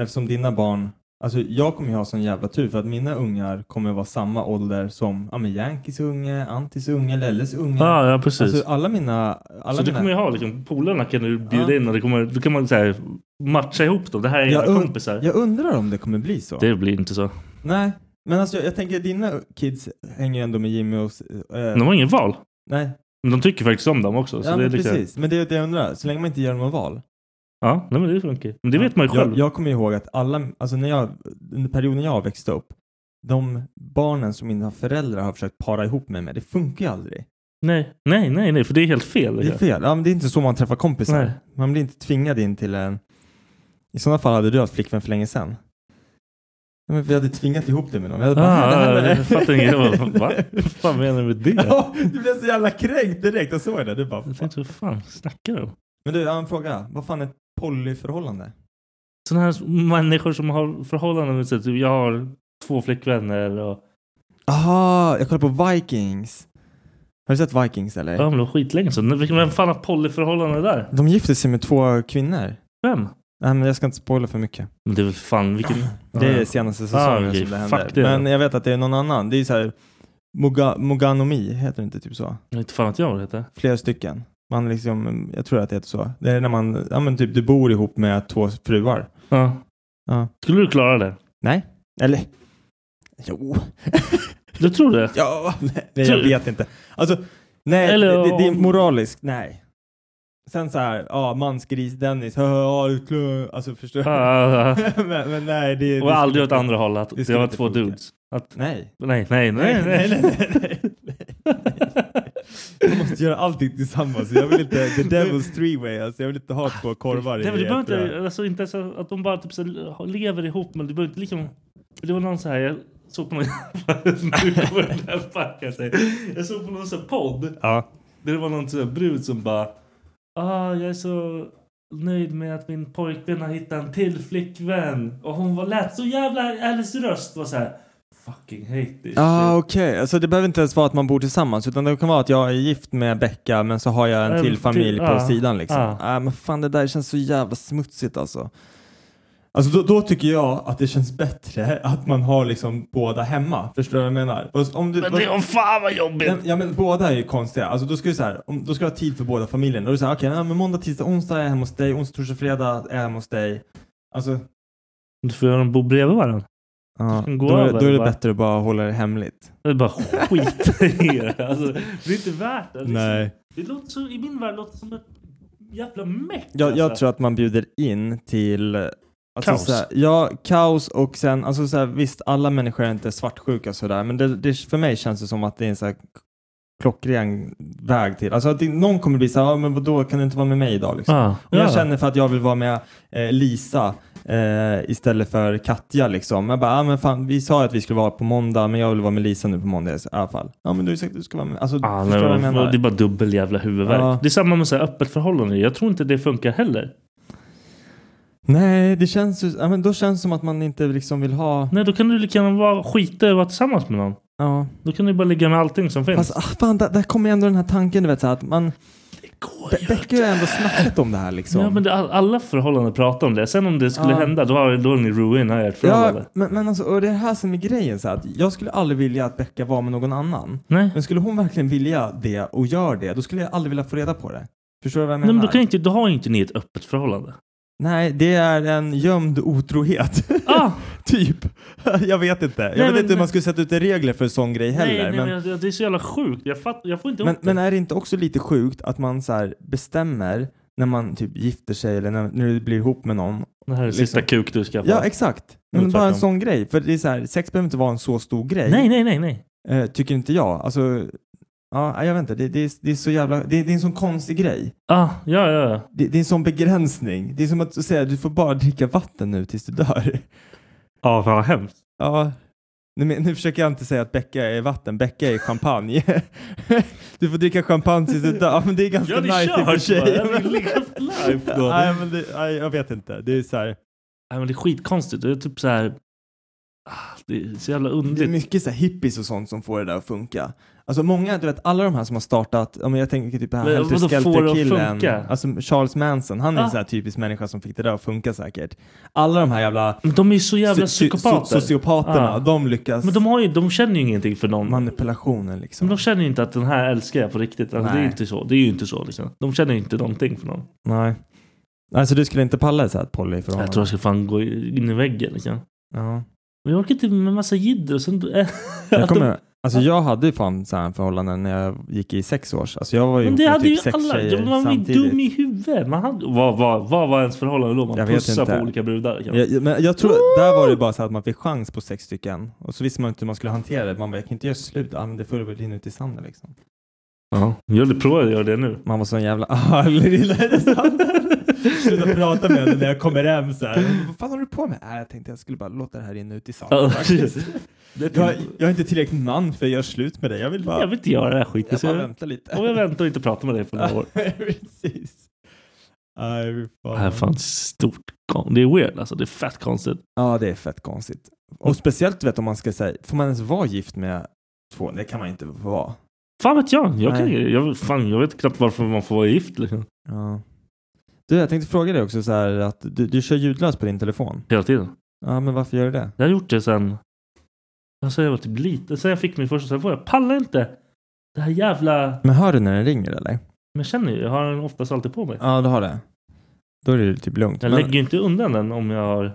[SPEAKER 3] eftersom dina barn, alltså jag kommer ju ha sån jävla tur för att mina ungar kommer vara samma ålder som ja, men Yankees unge, Antis unge, Lelles unge.
[SPEAKER 2] Ja, ja precis.
[SPEAKER 3] Alltså alla mina... Alla
[SPEAKER 2] så du
[SPEAKER 3] mina...
[SPEAKER 2] kommer ju ha liksom, polarna kan du bjuda
[SPEAKER 3] Ja.
[SPEAKER 2] in och det kommer, då kan man så här, matcha ihop dem. Det här är
[SPEAKER 3] jag,
[SPEAKER 2] era
[SPEAKER 3] und-
[SPEAKER 2] kompisar.
[SPEAKER 3] jag undrar om det kommer bli så.
[SPEAKER 2] Det blir inte så.
[SPEAKER 3] Nej, men alltså jag, jag tänker dina kids hänger ju ändå med Jimmy och... s- eh,
[SPEAKER 2] De har ingen val.
[SPEAKER 3] Nej.
[SPEAKER 2] Men de tycker faktiskt om dem också. Så
[SPEAKER 3] Ja,
[SPEAKER 2] det är
[SPEAKER 3] men
[SPEAKER 2] lite,
[SPEAKER 3] precis. Men det är det jag undrar. Så länge man inte gör några val.
[SPEAKER 2] Ja, nej, men det funkar. Men det vet man ju själv.
[SPEAKER 3] Jag, jag kommer ihåg att alla, alltså när jag, under perioden jag växte upp, de barnen som mina föräldrar har försökt para ihop mig med, det funkar ju aldrig.
[SPEAKER 2] Nej, nej, nej, nej, för det är helt fel.
[SPEAKER 3] Det är fel. Ja, men det är inte så man träffar kompisar.
[SPEAKER 2] Nej.
[SPEAKER 3] Man blir inte tvingad in till en... I sådana fall hade du haft flickvän för länge sedan. Ja, men vi hade tvingat ihop dig med någon. Vi hade
[SPEAKER 2] Ah,
[SPEAKER 3] "Det här är-"
[SPEAKER 2] jag fattar inte. Jag bara, "Va? Vad fan menar du med det?
[SPEAKER 3] Ja, du blev så jävla kränkt direkt. Jag såg det. Du bara,
[SPEAKER 2] Jag
[SPEAKER 3] fan.
[SPEAKER 2] tänkte, vad fan snackar du om?
[SPEAKER 3] Men du, jag har en fråga. Vad fan är ett polyförhållande?
[SPEAKER 2] Sådana här människor som har förhållanden med sig. Typ, jag har två flickvänner och...
[SPEAKER 3] Aha, jag kollar på Vikings. Har du sett Vikings eller?
[SPEAKER 2] Ja, men det var skitlänge sedan. Vilken- Vem fan har polyförhållanden där?
[SPEAKER 3] De gifter sig med två kvinnor.
[SPEAKER 2] Vem?
[SPEAKER 3] Nej, men jag ska inte spoila för mycket.
[SPEAKER 2] Men det är väl fan vilken...
[SPEAKER 3] Det är senaste säsongen
[SPEAKER 2] Ah, okej.
[SPEAKER 3] som det
[SPEAKER 2] Fuck
[SPEAKER 3] händer.
[SPEAKER 2] det.
[SPEAKER 3] Men jag vet att det är någon annan. Det är så här Moga, Moganomi, heter det inte typ så?
[SPEAKER 2] Jag vet inte fan vad jag heter.
[SPEAKER 3] Flera stycken. Man liksom, jag tror att det heter så. Det är när man, ja men typ du bor ihop med två fruar.
[SPEAKER 2] Ja.
[SPEAKER 3] Ja.
[SPEAKER 2] Skulle du klara det?
[SPEAKER 3] Nej? Eller? Jo.
[SPEAKER 2] Du tror det?
[SPEAKER 3] ja, nej, jag vet inte. Alltså, nej,
[SPEAKER 2] Typ. Eller-
[SPEAKER 3] det, det, det är moraliskt. Nej. Sen så här, ja, mansgris-Dennis, ja, du klö- alltså förstår du?
[SPEAKER 2] Ah,
[SPEAKER 3] men, men nej, det det
[SPEAKER 2] och
[SPEAKER 3] skulle
[SPEAKER 2] aldrig åt
[SPEAKER 3] inte-
[SPEAKER 2] andra hållet.
[SPEAKER 3] det
[SPEAKER 2] Det,
[SPEAKER 3] skulle
[SPEAKER 2] var
[SPEAKER 3] inte
[SPEAKER 2] två
[SPEAKER 3] funka.
[SPEAKER 2] dudes. Att,
[SPEAKER 3] Nej.
[SPEAKER 2] nej, nej, nej, nej.
[SPEAKER 3] nej, Jag måste göra allting tillsammans. Jag vill inte, the devil's three-way, alltså jag vill inte ha två korvar i
[SPEAKER 2] Nej, men du
[SPEAKER 3] ett
[SPEAKER 2] behöver inte,
[SPEAKER 3] rör.
[SPEAKER 2] alltså, inte ens att de bara typ, så, här lever ihop, men du behöver inte liksom... Det var någon så här, jag såg på någon... nu kommer den här packa sig. Jag såg på någon så här podd,
[SPEAKER 3] Ja.
[SPEAKER 2] där det var någon sån här brud som bara... Ah, jag är så nöjd med att min pojkvän har hittat en till flickvän. Och hon var lät så jävla... Hennes röst var så här... Fucking hate this shit.
[SPEAKER 3] Ah, okej, alltså det behöver inte ens vara att man bor tillsammans utan det kan vara att jag är gift med Becka men så har jag en
[SPEAKER 2] En
[SPEAKER 3] till
[SPEAKER 2] Ehm, till-
[SPEAKER 3] familj på
[SPEAKER 2] ja,
[SPEAKER 3] sidan liksom.
[SPEAKER 2] ja.
[SPEAKER 3] Ah, men fan det där känns så jävla smutsigt alltså. Alltså då, då tycker jag att det känns bättre att man har liksom båda hemma. Förstår du vad jag menar? Och om du,
[SPEAKER 2] Men det är fan vad jobbigt!
[SPEAKER 3] Ja, ja men båda är ju konstiga. Alltså då ska du så här, om, då ska du ha tid för båda familjen. Då är det så här, okej, ja, men måndag, tisdag, onsdag är jag hemma hos dig. Onsdag, torsdag, fredag är jag hemma hos dig. Alltså,
[SPEAKER 2] Du får göra dem bo bredvid varandra.
[SPEAKER 3] ja,
[SPEAKER 2] kan gå
[SPEAKER 3] då, är,
[SPEAKER 2] över,
[SPEAKER 3] då är det
[SPEAKER 2] va?
[SPEAKER 3] bättre att bara hålla det hemligt.
[SPEAKER 2] Det är bara skit i det. Alltså, det är inte värt det. Liksom.
[SPEAKER 3] Nej.
[SPEAKER 2] Det låter så, I min värld låter det som ett jävla meck.
[SPEAKER 3] Jag, jag
[SPEAKER 2] alltså.
[SPEAKER 3] tror att man bjuder in till... Alltså,
[SPEAKER 2] Kaos.
[SPEAKER 3] Så här, ja, kaos och sen, alltså så här, visst alla människor är inte svartsjuka och sådär, men det, det, för mig känns det som att det är en så här klockren väg till, alltså att det, någon kommer bli så här, ah, men vadå, kan du inte vara med mig idag liksom?
[SPEAKER 2] Ah,
[SPEAKER 3] Och
[SPEAKER 2] ja.
[SPEAKER 3] jag känner för att jag vill vara med eh, Lisa eh, istället för Katja liksom. Jag bara, ah, men fan, vi sa att vi skulle vara på måndag, men jag vill vara med Lisa nu på måndag i alla fall. Ja, men du har sagt att du ska vara med. Alltså,
[SPEAKER 2] Ah,
[SPEAKER 3] förstår
[SPEAKER 2] nej,
[SPEAKER 3] du vad jag
[SPEAKER 2] men
[SPEAKER 3] menar?
[SPEAKER 2] det är bara dubbel jävla huvudvärk.
[SPEAKER 3] Ja.
[SPEAKER 2] Det är samma med så här öppet förhållande. Jag tror inte det funkar heller.
[SPEAKER 3] Nej, det känns ju, ja, men då känns det som att man inte liksom vill ha,
[SPEAKER 2] Nej, då kan du lika gärna vara skita i att vara tillsammans med någon.
[SPEAKER 3] ja.
[SPEAKER 2] Då kan du bara ligga med allting som finns.
[SPEAKER 3] Fast ah, fan, där, där kommer ju ändå den här tanken, du vet så här, att man, Be- Becker har ändå snackat om det här liksom.
[SPEAKER 2] ja, men det, all- alla förhållanden pratar om det. Sen om det skulle
[SPEAKER 3] Ja.
[SPEAKER 2] hända, då har då har ni ruinat ert förhållande.
[SPEAKER 3] Ja, men, men alltså, och det är det här som är grejen så här, att jag skulle aldrig vilja att Becka var med någon annan.
[SPEAKER 2] Nej.
[SPEAKER 3] Men skulle hon verkligen vilja det och gör det, då skulle jag aldrig vilja få reda på det. Förstår du vad jag menar?
[SPEAKER 2] Nej, men då, kan inte, då har ju inte ni ett öppet förhållande.
[SPEAKER 3] Nej, det är en gömd otrohet.
[SPEAKER 2] Ah!
[SPEAKER 3] typ. jag vet inte. Jag vet
[SPEAKER 2] men-
[SPEAKER 3] inte hur man skulle sätta ut regler för sån grej heller.
[SPEAKER 2] nej, nej,
[SPEAKER 3] men,
[SPEAKER 2] men, jag- det är så jävla sjukt. Jag, fatt, jag får inte
[SPEAKER 3] men,
[SPEAKER 2] ihop det.
[SPEAKER 3] men är det inte också lite sjukt att man så här bestämmer när man typ gifter sig eller när, när du blir ihop med någon?
[SPEAKER 2] Det här är
[SPEAKER 3] liksom-
[SPEAKER 2] sista kuk du skaffar.
[SPEAKER 3] Ja, exakt. Men
[SPEAKER 2] Eller
[SPEAKER 3] bara en
[SPEAKER 2] tvärtom.
[SPEAKER 3] sån grej. För det är så här, sex behöver inte vara en så stor grej.
[SPEAKER 2] nej, nej, nej, nej.
[SPEAKER 3] Eh, tycker inte jag. Alltså, ja, jag vet inte. Det, det, är, det är så jävla... Det, det är en sån konstig grej.
[SPEAKER 2] Ah, ja, ja, ja.
[SPEAKER 3] Det, det är en sån begränsning. Det är som att säga du får bara dricka vatten nu tills du dör.
[SPEAKER 2] Ja, fan vad hemskt.
[SPEAKER 3] Ja. Nu, men- nu försöker jag inte säga att Becka är vatten, Becka är champagne. du får dricka champagne tills du dör. Ja, men det är ganska
[SPEAKER 2] Ja, det
[SPEAKER 3] nice i och för
[SPEAKER 2] körs
[SPEAKER 3] sig.
[SPEAKER 2] bara. Jag vill leva ett liv då.
[SPEAKER 3] Nej, men det, nej, jag vet inte. Det är så här,
[SPEAKER 2] Nej, men det är skitkonstigt. Det är typ så här... Ah, Det är så jävla
[SPEAKER 3] det är
[SPEAKER 2] underligt.
[SPEAKER 3] mycket så här hippies och sånt som får det där att funka. Alltså många, du vet alla de här som har startat, ja, men jag tänker typ den här
[SPEAKER 2] Men
[SPEAKER 3] Helter
[SPEAKER 2] vadå får det att
[SPEAKER 3] Skelter-killen.
[SPEAKER 2] funka?
[SPEAKER 3] Alltså Charles Manson, han är en
[SPEAKER 2] Ah.
[SPEAKER 3] sån här typisk människa som fick det där att funka säkert. Alla de här jävla,
[SPEAKER 2] Men de är ju så jävla
[SPEAKER 3] so- so-
[SPEAKER 2] psykopater.
[SPEAKER 3] sociopaterna,
[SPEAKER 2] Ah.
[SPEAKER 3] de lyckas
[SPEAKER 2] Men de, har ju, de känner ju ingenting för någon.
[SPEAKER 3] manipulationen
[SPEAKER 2] Men
[SPEAKER 3] liksom.
[SPEAKER 2] de känner ju inte att den här älskar jag på riktigt. Alltså, det är
[SPEAKER 3] Nej.
[SPEAKER 2] ju inte så. Det är ju inte så liksom. De känner ju inte någonting för någon.
[SPEAKER 3] Nej. Alltså du skulle inte palla i så här ett polyförhållande?
[SPEAKER 2] Jag tror jag ska fan gå in i väggen liksom.
[SPEAKER 3] Ja.
[SPEAKER 2] Men jag orkar inte med massa jidder och sen...
[SPEAKER 3] Jag kommer, Alltså jag hade ju fan sådana förhållanden när jag gick i sex års. Alltså jag var ju
[SPEAKER 2] Men det
[SPEAKER 3] med
[SPEAKER 2] hade
[SPEAKER 3] typ
[SPEAKER 2] ju
[SPEAKER 3] sex
[SPEAKER 2] alla.
[SPEAKER 3] tjejer
[SPEAKER 2] Ja, men Man var ju
[SPEAKER 3] samtidigt.
[SPEAKER 2] dum i huvudet. Man hade, vad, vad, vad var ens förhållande då? Man
[SPEAKER 3] Jag vet
[SPEAKER 2] pussade
[SPEAKER 3] inte.
[SPEAKER 2] på olika brudar. kanske.
[SPEAKER 3] Jag, men jag tror, där var det bara så att man fick chans på sex stycken och så visste man inte hur man skulle hantera det. Man bara, jag kan inte göra slut. Ja, men det får väl rinna ut i sanden liksom.
[SPEAKER 2] Jag vill prova att göra det nu.
[SPEAKER 3] Man var sån jävla, ah, rinna ut i sanden. Sluta prata med henne när jag kommer hem så här. Vad fan håller du på med? Äh, jag tänkte jag skulle bara låta det här rinna ut i sanden.
[SPEAKER 2] Ja,
[SPEAKER 3] faktiskt.
[SPEAKER 2] Det
[SPEAKER 3] jag, jag är inte tillräckligt man för att göra slut med dig. Jag vill bara,
[SPEAKER 2] Jag vill inte göra det här skiten.
[SPEAKER 3] jag
[SPEAKER 2] så
[SPEAKER 3] bara
[SPEAKER 2] jag-
[SPEAKER 3] vänta lite.
[SPEAKER 2] Och jag väntar och inte pratar med dig på några år.
[SPEAKER 3] Precis. Nej, fy
[SPEAKER 2] Det här är fan stort. kon- Det är weird alltså. Det är fett konstigt.
[SPEAKER 3] Ja, det är fett konstigt. Och speciellt vet om man ska säga, får man ens vara gift med två? Det kan man inte vara.
[SPEAKER 2] Fan vet jag. Jag, kan,
[SPEAKER 3] Nej.
[SPEAKER 2] jag, fan, jag vet knappt varför man får vara gift. Liksom.
[SPEAKER 3] Ja. Du, jag tänkte fråga dig också så här att du, du kör ljudlöst på din telefon.
[SPEAKER 2] Hela tiden.
[SPEAKER 3] Ja, men varför gör du det?
[SPEAKER 2] Jag har gjort det sen... Alltså jag var typ liten. Sen jag fick min första telefon. Jag pallar inte. Det här jävla...
[SPEAKER 3] Men hör du när den ringer eller?
[SPEAKER 2] Men jag känner ju. Jag har den oftast alltid på mig.
[SPEAKER 3] Ja, du har det. Då är det ju typ lugnt.
[SPEAKER 2] Jag
[SPEAKER 3] men...
[SPEAKER 2] lägger ju inte undan den om jag har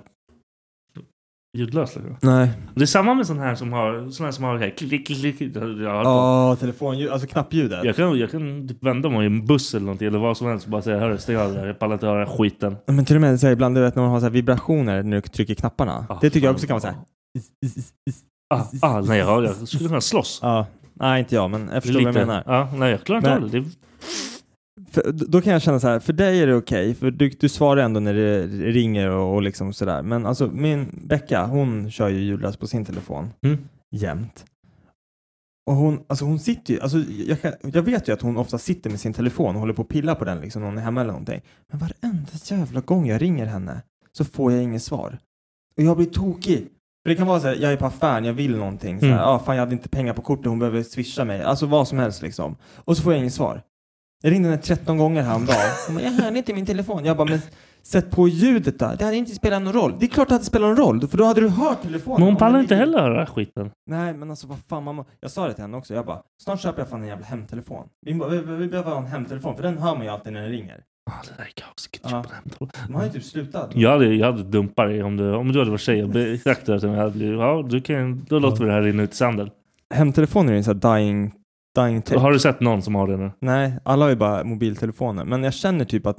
[SPEAKER 2] ljudlöst. Liksom.
[SPEAKER 3] Nej.
[SPEAKER 2] Och Det är samma med sån här som har... Sån här som har... Klick, klick, klick, klick. Jag, har
[SPEAKER 3] Ja, telefonljud, alltså knappljudet.
[SPEAKER 2] jag kan, jag kan typ vända mig i en buss eller någonting eller vad som helst och bara säga hörru stäng av det där. Jag pallar inte höra den här skiten.
[SPEAKER 3] Ja, Men till och med så här, ibland, du vet när man har så här vibrationer när du trycker knapparna.
[SPEAKER 2] Ah,
[SPEAKER 3] det tycker jag
[SPEAKER 2] fan.
[SPEAKER 3] också kan vara så här.
[SPEAKER 2] Ah, ah, nej, jag, jag skulle kunna slåss.
[SPEAKER 3] Ja, nej inte jag, men jag förstår vad
[SPEAKER 2] Lite.
[SPEAKER 3] jag menar.
[SPEAKER 2] Ja, nej, jag klarar inte
[SPEAKER 3] Men-
[SPEAKER 2] av det. det.
[SPEAKER 3] För, d- då kan jag känna så här, för dig är det okej, för du, du svarar ändå när det ringer och, och liksom sådär. Men alltså min Becka, hon kör ju ljudlöst på sin telefon
[SPEAKER 2] Mm.
[SPEAKER 3] jämt. Och hon, alltså hon sitter ju, alltså jag, kan, jag vet ju att hon ofta sitter med sin telefon och håller på och pillar på den liksom när hon är hemma eller någonting. Men varenda jävla gång jag ringer henne så får jag inget svar. Och jag blir tokig. För det kan vara så här, jag är på affären, jag vill någonting. Så här,
[SPEAKER 2] Mm.
[SPEAKER 3] ah, fan jag hade inte pengar på kortet, hon behöver swisha mig. Alltså vad som helst liksom. Och så får jag inget svar. Jag ringde henne 13 gånger häromdagen. Hon bara, jag hörde inte min telefon. Jag bara, men sätt på ljudet där. Det hade inte spelat någon roll. Det är klart det hade spelat någon roll, för då hade du hört telefonen.
[SPEAKER 2] Men hon
[SPEAKER 3] Om
[SPEAKER 2] pallar
[SPEAKER 3] den
[SPEAKER 2] inte
[SPEAKER 3] ligger-
[SPEAKER 2] heller höra den här skiten.
[SPEAKER 3] Nej, men alltså vad fan mamma. Jag sa det till henne också. Jag bara, snart köper jag fan en jävla hemtelefon. Vi, må- vi, vi, vi behöver ha en hemtelefon, för den hör man ju alltid när den ringer.
[SPEAKER 2] Ah, det där är kaos. Jag kan
[SPEAKER 3] Ja.
[SPEAKER 2] köpa den här telefonen.
[SPEAKER 3] Man har ju typ slutat.
[SPEAKER 2] Jag hade, jag hade dumpat dig om du, om du hade varit tjej. Jag betraktar dig som jag hade blivit. Ja, du kan, då låter vi det här rinna ut i sanden.
[SPEAKER 3] Hemtelefoner är ju en sån här dying, dying tech.
[SPEAKER 2] Har du sett någon som har det nu?
[SPEAKER 3] Nej, alla har ju bara mobiltelefoner. Men jag känner typ att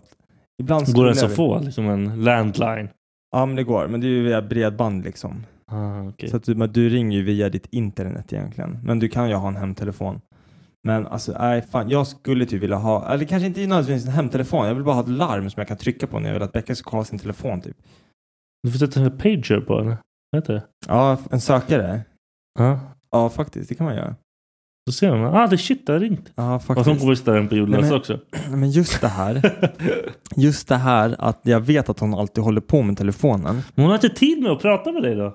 [SPEAKER 3] ibland
[SPEAKER 2] Går
[SPEAKER 3] skulle
[SPEAKER 2] det ens
[SPEAKER 3] jag
[SPEAKER 2] att
[SPEAKER 3] vilja-
[SPEAKER 2] få liksom en landline?
[SPEAKER 3] Ja, men det går. Men det är ju via bredband liksom.
[SPEAKER 2] Ah, okej.
[SPEAKER 3] Så att du, men du ringer ju via ditt internet egentligen. Men du kan ju ha en hemtelefon. Men alltså, nej fan. Jag skulle typ vilja ha, eller kanske inte nödvändigtvis en hemtelefon. Jag vill bara ha ett larm som jag kan trycka på när jag vill att Becka ska kolla sin telefon typ.
[SPEAKER 2] Du får sätta en pager på den. Vad heter det?
[SPEAKER 3] Ja, en sökare.
[SPEAKER 2] Ja.
[SPEAKER 3] Ja, faktiskt. Det kan man göra.
[SPEAKER 2] Då ser man. Ah, det shit, det har ringt.
[SPEAKER 3] Ja,
[SPEAKER 2] Och
[SPEAKER 3] faktiskt.
[SPEAKER 2] så får vi ställa den på
[SPEAKER 3] Nej,
[SPEAKER 2] jordlös
[SPEAKER 3] men-
[SPEAKER 2] också.
[SPEAKER 3] Nej, Men just det här. Just det här att jag vet att hon alltid håller på med telefonen.
[SPEAKER 2] Men hon har inte tid med att prata med dig då.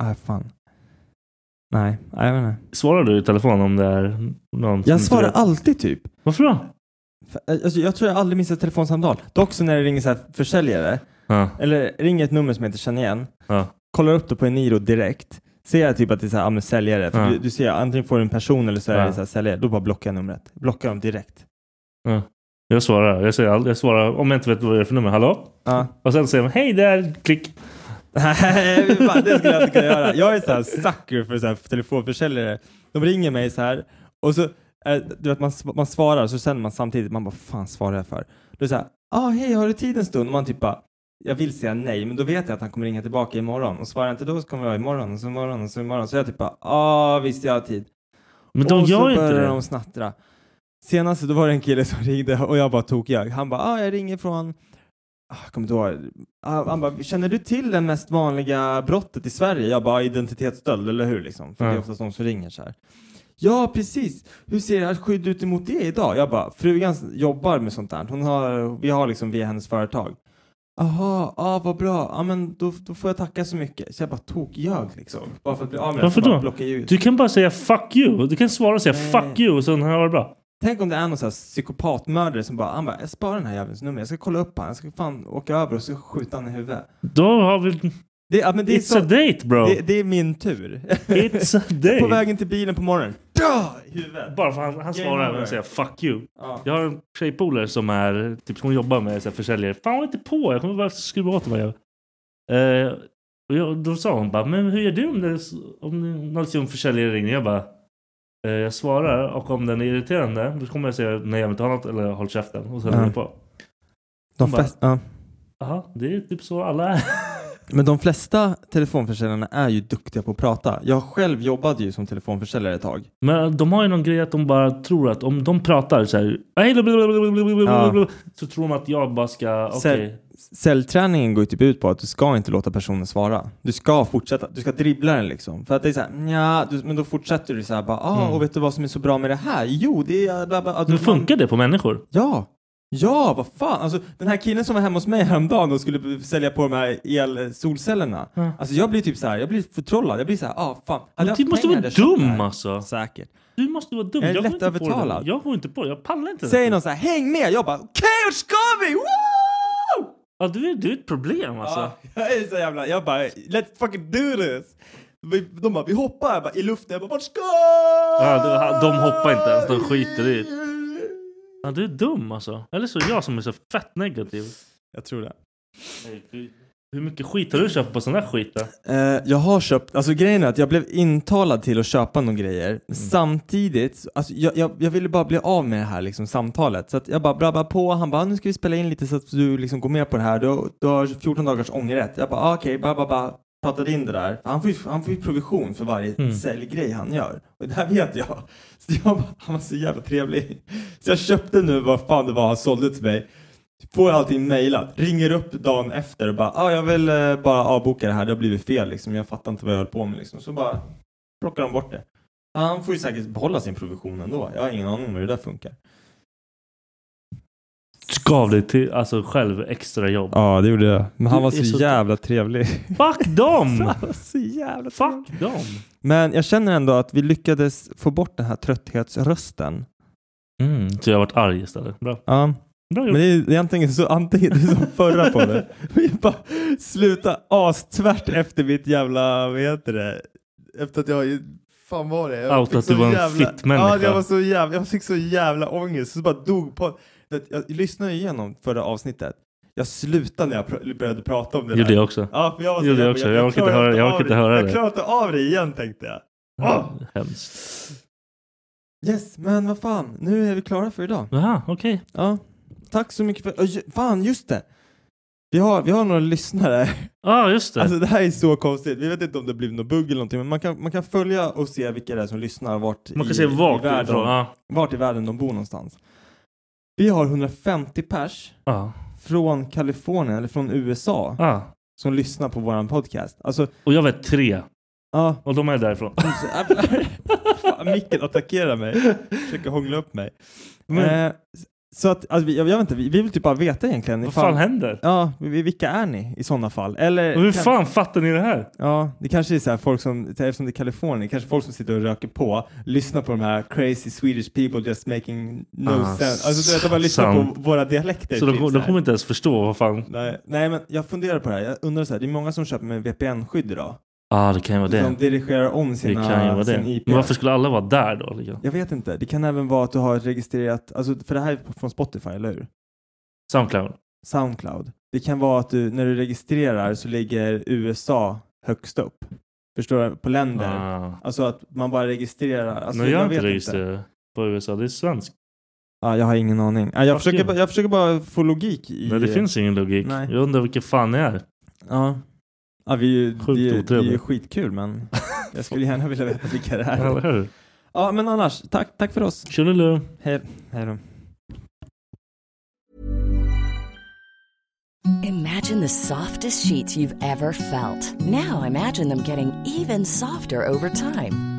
[SPEAKER 3] Nej, fan. Nej, jag vet inte.
[SPEAKER 2] Svarar du i telefon om det är någon som
[SPEAKER 3] Jag
[SPEAKER 2] inte
[SPEAKER 3] svarar
[SPEAKER 2] vet?
[SPEAKER 3] alltid typ.
[SPEAKER 2] Varför då?
[SPEAKER 3] För, eh, Alltså, jag tror jag aldrig missar ett telefonsamtal. Dock så när det ringer så här försäljare,
[SPEAKER 2] Ja.
[SPEAKER 3] eller ringer ett nummer som jag inte känner igen,
[SPEAKER 2] Ja.
[SPEAKER 3] kollar upp det på Eniro direkt, ser jag typ att det är så här, ja, men säljare, för
[SPEAKER 2] Ja.
[SPEAKER 3] du, du ser antingen får du en person eller så är
[SPEAKER 2] Ja.
[SPEAKER 3] det så här, säljare, då bara blockar jag numret. Blockar dem direkt.
[SPEAKER 2] Jag svarar. Jag, säger aldrig, jag svarar om jag inte vet vad det är för nummer. Hallå?
[SPEAKER 3] Ja.
[SPEAKER 2] Och sen säger man hej där, klick.
[SPEAKER 3] Nej, fy fan, det skulle jag inte kunna göra. Jag är så här sucker för så här telefonförsäljare. De ringer mig så här och så, eh, du vet, man, sv- man svarar så känner man samtidigt, man bara fan svarar jag för? Då är det så här, ah, hej, har du tid en stund? Och man typ bara, jag vill säga nej, men då vet jag att han kommer ringa tillbaka imorgon. Och svarar jag inte då så kommer jag imorgon, och så imorgon, och så imorgon. Så jag typ bara, ah, visst jag har tid.
[SPEAKER 2] Men de
[SPEAKER 3] och
[SPEAKER 2] gör
[SPEAKER 3] så
[SPEAKER 2] ju inte
[SPEAKER 3] börjar
[SPEAKER 2] det.
[SPEAKER 3] de snattra. Senast då var det en kille som ringde och jag bara tog jag. Han bara, ah, jag ringer från, ah, jag kommer inte ihåg. Ah, Han bara, känner du till det mest vanliga brottet i Sverige? Jag bara, identitetsstöld, eller hur? Liksom. För det är
[SPEAKER 2] Ja.
[SPEAKER 3] oftast de som ringer så här. Ja, precis. Hur ser ert skydd ut emot det idag? Jag bara, frugan jobbar med sånt där. Hon har, vi har liksom via hennes företag. Aha, ah, vad bra. Ja, men då, då får jag tacka så mycket. Så jag bara tog jag liksom. Bara för att bli av med det.
[SPEAKER 2] Varför
[SPEAKER 3] Så bara
[SPEAKER 2] då?
[SPEAKER 3] blockar jag ut.
[SPEAKER 2] Du kan bara säga fuck you. Du kan svara och säga
[SPEAKER 3] Nej.
[SPEAKER 2] fuck you och sen har jag det bra.
[SPEAKER 3] Tänk om det är någon sån här psykopatmördare som bara, han bara, jag sparar den här jävelns nummer, jag ska kolla upp han, jag ska fan åka över och så skjuta han i huvudet.
[SPEAKER 2] Då har vi...
[SPEAKER 3] Det, ja, men det, är
[SPEAKER 2] It's a
[SPEAKER 3] så,
[SPEAKER 2] date bro.
[SPEAKER 3] det, det är min tur.
[SPEAKER 2] It's a
[SPEAKER 3] på
[SPEAKER 2] date.
[SPEAKER 3] vägen till bilen på morgonen, dö! i huvudet.
[SPEAKER 2] Bara för han, han
[SPEAKER 3] Game
[SPEAKER 2] svarar
[SPEAKER 3] over.
[SPEAKER 2] och säger fuck you.
[SPEAKER 3] Ja.
[SPEAKER 2] Jag har en tjejpolare som är, typ som hon jobbar med så här, försäljare. Fan håll inte på, jag kommer bara skruva åt mig. Eh, Och jag, då sa hon bara, men hur gör du om, det, om det- någon liksom försäljare ringer? Jag bara, eh, jag svarar och om den är irriterande då kommer jag säga nej jag vill inte ha något eller håll käften. Och sen
[SPEAKER 3] Ja.
[SPEAKER 2] lägger jag på.
[SPEAKER 3] De
[SPEAKER 2] Hon bara-
[SPEAKER 3] flest, ja.
[SPEAKER 2] Jaha, det är typ så alla är.
[SPEAKER 3] Men de flesta telefonförsäljarna är ju duktiga på att prata. Jag själv jobbade ju som telefonförsäljare ett tag.
[SPEAKER 2] Men de har ju någon grej att de bara tror att om de pratar så här, "Hej,
[SPEAKER 3] Ja.
[SPEAKER 2] så tror de att jag bara ska, okej.
[SPEAKER 3] Sälj- Säljträningen går ju typ ut på att du ska inte låta personen svara. Du ska fortsätta, du ska dribbla den liksom. För att det är såhär, nja, du, men då fortsätter du såhär bara, ah,
[SPEAKER 2] Mm.
[SPEAKER 3] och vet du vad som är så bra med det här? Jo, det är... Bla, bla, att
[SPEAKER 2] Men
[SPEAKER 3] du- man-
[SPEAKER 2] funkar det på människor?
[SPEAKER 3] Ja! Ja, vad fan! Alltså, den här killen som var hemma hos mig häromdagen och skulle b- sälja på de här el-solcellerna.
[SPEAKER 2] Ja.
[SPEAKER 3] Alltså jag blir typ så här, jag blir förtrollad. Jag blir så här, ah fan. Hade jag
[SPEAKER 2] Men
[SPEAKER 3] haft
[SPEAKER 2] du måste
[SPEAKER 3] pengar
[SPEAKER 2] vara
[SPEAKER 3] hade jag köpt det
[SPEAKER 2] dum
[SPEAKER 3] här.
[SPEAKER 2] alltså.
[SPEAKER 3] Säkert.
[SPEAKER 2] Du måste vara dum.
[SPEAKER 3] Jag är
[SPEAKER 2] går inte på det.
[SPEAKER 3] lättövertalad.
[SPEAKER 2] Jag går inte på det. Jag pallar inte.
[SPEAKER 3] Säger
[SPEAKER 2] det.
[SPEAKER 3] någon så här, häng med! Jag bara, okej, vart ska vi? Woo!
[SPEAKER 2] Ja, du, är, du är ett problem alltså.
[SPEAKER 3] Ja, jag är så jävla, jag bara, let's fucking do this! Vi- De bara, vi hoppar jag bara, i luften. Jag bara, vart ska
[SPEAKER 2] Ja, de- de hoppar inte ens, de skiter i Ja, du är dum alltså. Eller så är jag som är så fett negativ.
[SPEAKER 3] Jag tror det.
[SPEAKER 2] Hur mycket skit har du köpt på sån här skit då?
[SPEAKER 3] Eh, jag har köpt, alltså grejen är att jag blev intalad till att köpa några grejer. Samtidigt, alltså, jag, jag, jag ville bara bli av med det här liksom, samtalet. Så att jag bara brabbade på, han bara "Ah, nu ska vi spela in lite så att du liksom, går med på det här. Du, du har 14 dagars ångerrätt. Jag bara ah, okej, okay, bara, bara, bara pratade in det där. Han får ju, han får ju provision för varje
[SPEAKER 2] Mm.
[SPEAKER 3] säljgrej han gör. Och det här vet jag. Så jag bara, han var så jävla trevlig. Så jag köpte nu vad fan det var han sålde till mig. Får allting mejlat, ringer upp dagen efter och bara ah, jag vill eh, bara avboka det här, det har blivit fel liksom. Jag fattar inte vad jag höll på med liksom. Så bara plockar de bort det. Han får ju säkert behålla sin provision ändå. Jag har ingen aning om hur det där funkar.
[SPEAKER 2] Gav dig till, alltså själv extra jobb.
[SPEAKER 3] Ja, det gjorde jag. Men
[SPEAKER 2] han var så
[SPEAKER 3] jävla trevlig.
[SPEAKER 2] Fuck dem!
[SPEAKER 3] var så jävla
[SPEAKER 2] Fuck dem!
[SPEAKER 3] Men jag känner ändå att vi lyckades få bort den här trötthetsrösten. Mm.
[SPEAKER 2] Så jag har varit arg istället. Bra.
[SPEAKER 3] Ja,
[SPEAKER 2] Bra
[SPEAKER 3] men
[SPEAKER 2] gjort.
[SPEAKER 3] det är det är antingen så, antingen det är som förra på det. Vi bara sluta astvärt efter mitt jävla, vad heter det? Efter att jag, fan var det? Jag
[SPEAKER 2] Out
[SPEAKER 3] fick
[SPEAKER 2] att du
[SPEAKER 3] så
[SPEAKER 2] var en
[SPEAKER 3] jävla-
[SPEAKER 2] fittmänniska.
[SPEAKER 3] Ja, jag var så jävla, jag fick så jävla ångest. Så bara dog på. Jag, jag lyssnade igenom förra avsnittet. Jag slutade när jag pr- började prata om det
[SPEAKER 2] Gjorde jag också.
[SPEAKER 3] Ja, för jag var så
[SPEAKER 2] Gjorde jag
[SPEAKER 3] jävla-
[SPEAKER 2] också. Jag orkar inte
[SPEAKER 3] klarar
[SPEAKER 2] höra- jag
[SPEAKER 3] av
[SPEAKER 2] orkar inte höra
[SPEAKER 3] Jag
[SPEAKER 2] det.
[SPEAKER 3] klarar inte av det igen tänkte jag. Ah!
[SPEAKER 2] Hemskt.
[SPEAKER 3] Yes, men vad fan, nu är vi klara för idag.
[SPEAKER 2] Jaha, okej.
[SPEAKER 3] Ja, tack så mycket för... Ö, ju- Fan, just det! Vi har, vi har några lyssnare.
[SPEAKER 2] Ja, ah, just det.
[SPEAKER 3] Alltså det här är så konstigt. Vi vet inte om det blivit något bugg eller någonting, men man kan, man kan följa och se vilka det är som lyssnar och vart,
[SPEAKER 2] Man
[SPEAKER 3] i,
[SPEAKER 2] kan se vart
[SPEAKER 3] i världen,
[SPEAKER 2] ifrån. Ja.
[SPEAKER 3] vart i världen de bor någonstans. Vi har 150 pers
[SPEAKER 2] Ja.
[SPEAKER 3] från Kalifornien, eller från USA,
[SPEAKER 2] Ja.
[SPEAKER 3] som lyssnar på våran podcast. Alltså,
[SPEAKER 2] Och jag vet tre.
[SPEAKER 3] ja,
[SPEAKER 2] Och de är därifrån.
[SPEAKER 3] Fan, Micken attackerar mig. Försöker hångla upp mig.
[SPEAKER 2] Men-
[SPEAKER 3] eh, så att, alltså, vi- jag, jag vet inte, vi, vi vill typ bara veta egentligen.
[SPEAKER 2] Vad
[SPEAKER 3] ifall-
[SPEAKER 2] fan händer?
[SPEAKER 3] Ja, vi- vilka är ni i sådana fall? Eller,
[SPEAKER 2] Och hur
[SPEAKER 3] kan-
[SPEAKER 2] fan fattar ni det här?
[SPEAKER 3] Ja, det kanske är så här folk som, eftersom det är Kalifornien, kanske folk som sitter och röker på, lyssnar på de här crazy Swedish people just making no
[SPEAKER 2] Ah,
[SPEAKER 3] sense. Alltså du vet, de bara lyssnar
[SPEAKER 2] sant.
[SPEAKER 3] på våra dialekter.
[SPEAKER 2] Så de,
[SPEAKER 3] typ
[SPEAKER 2] kom-
[SPEAKER 3] så
[SPEAKER 2] de
[SPEAKER 3] här.
[SPEAKER 2] kommer inte ens förstå vad fan... Ja,
[SPEAKER 3] Nej, nej, men jag funderar på det här. Jag undrar så här, det är många som köper med VPN-skydd idag.
[SPEAKER 2] ah, det kan ju vara
[SPEAKER 3] De
[SPEAKER 2] det.
[SPEAKER 3] dirigerar om
[SPEAKER 2] Det
[SPEAKER 3] sina,
[SPEAKER 2] kan ju vara
[SPEAKER 3] sin
[SPEAKER 2] det.
[SPEAKER 3] IP.
[SPEAKER 2] Men varför skulle alla vara där då? Liksom?
[SPEAKER 3] Jag vet inte. Det kan även vara att du har registrerat, alltså, för det här är från Spotify, eller hur?
[SPEAKER 2] Soundcloud.
[SPEAKER 3] Soundcloud. Det kan vara att du, när du registrerar så ligger USA högst upp. Förstår du? På länder.
[SPEAKER 2] Ah.
[SPEAKER 3] Alltså att man bara registrerar. Alltså,
[SPEAKER 2] Nej, jag har inte
[SPEAKER 3] vet
[SPEAKER 2] registrerat på USA. Det är svenskt.
[SPEAKER 3] Ja, jag har ingen aning. Ja, jag,
[SPEAKER 2] Fuck
[SPEAKER 3] försöker,
[SPEAKER 2] you.
[SPEAKER 3] bara- jag försöker bara få logik i...
[SPEAKER 2] Nej, det finns ingen logik.
[SPEAKER 3] Nej.
[SPEAKER 2] Jag undrar vilka fan ni är.
[SPEAKER 3] Ja. Ja, vi är ju,
[SPEAKER 2] Sjukt
[SPEAKER 3] det, är- det är ju
[SPEAKER 2] otrevligt.
[SPEAKER 3] skitkul, men jag skulle gärna vilja veta vilka det är.
[SPEAKER 2] Eller hur?
[SPEAKER 3] Ja, men annars, tack, tack för oss.
[SPEAKER 2] Tjolilu.
[SPEAKER 3] Hej, hej då.
[SPEAKER 5] Imagine the softest sheets you've ever felt. Now imagine them getting even softer over time.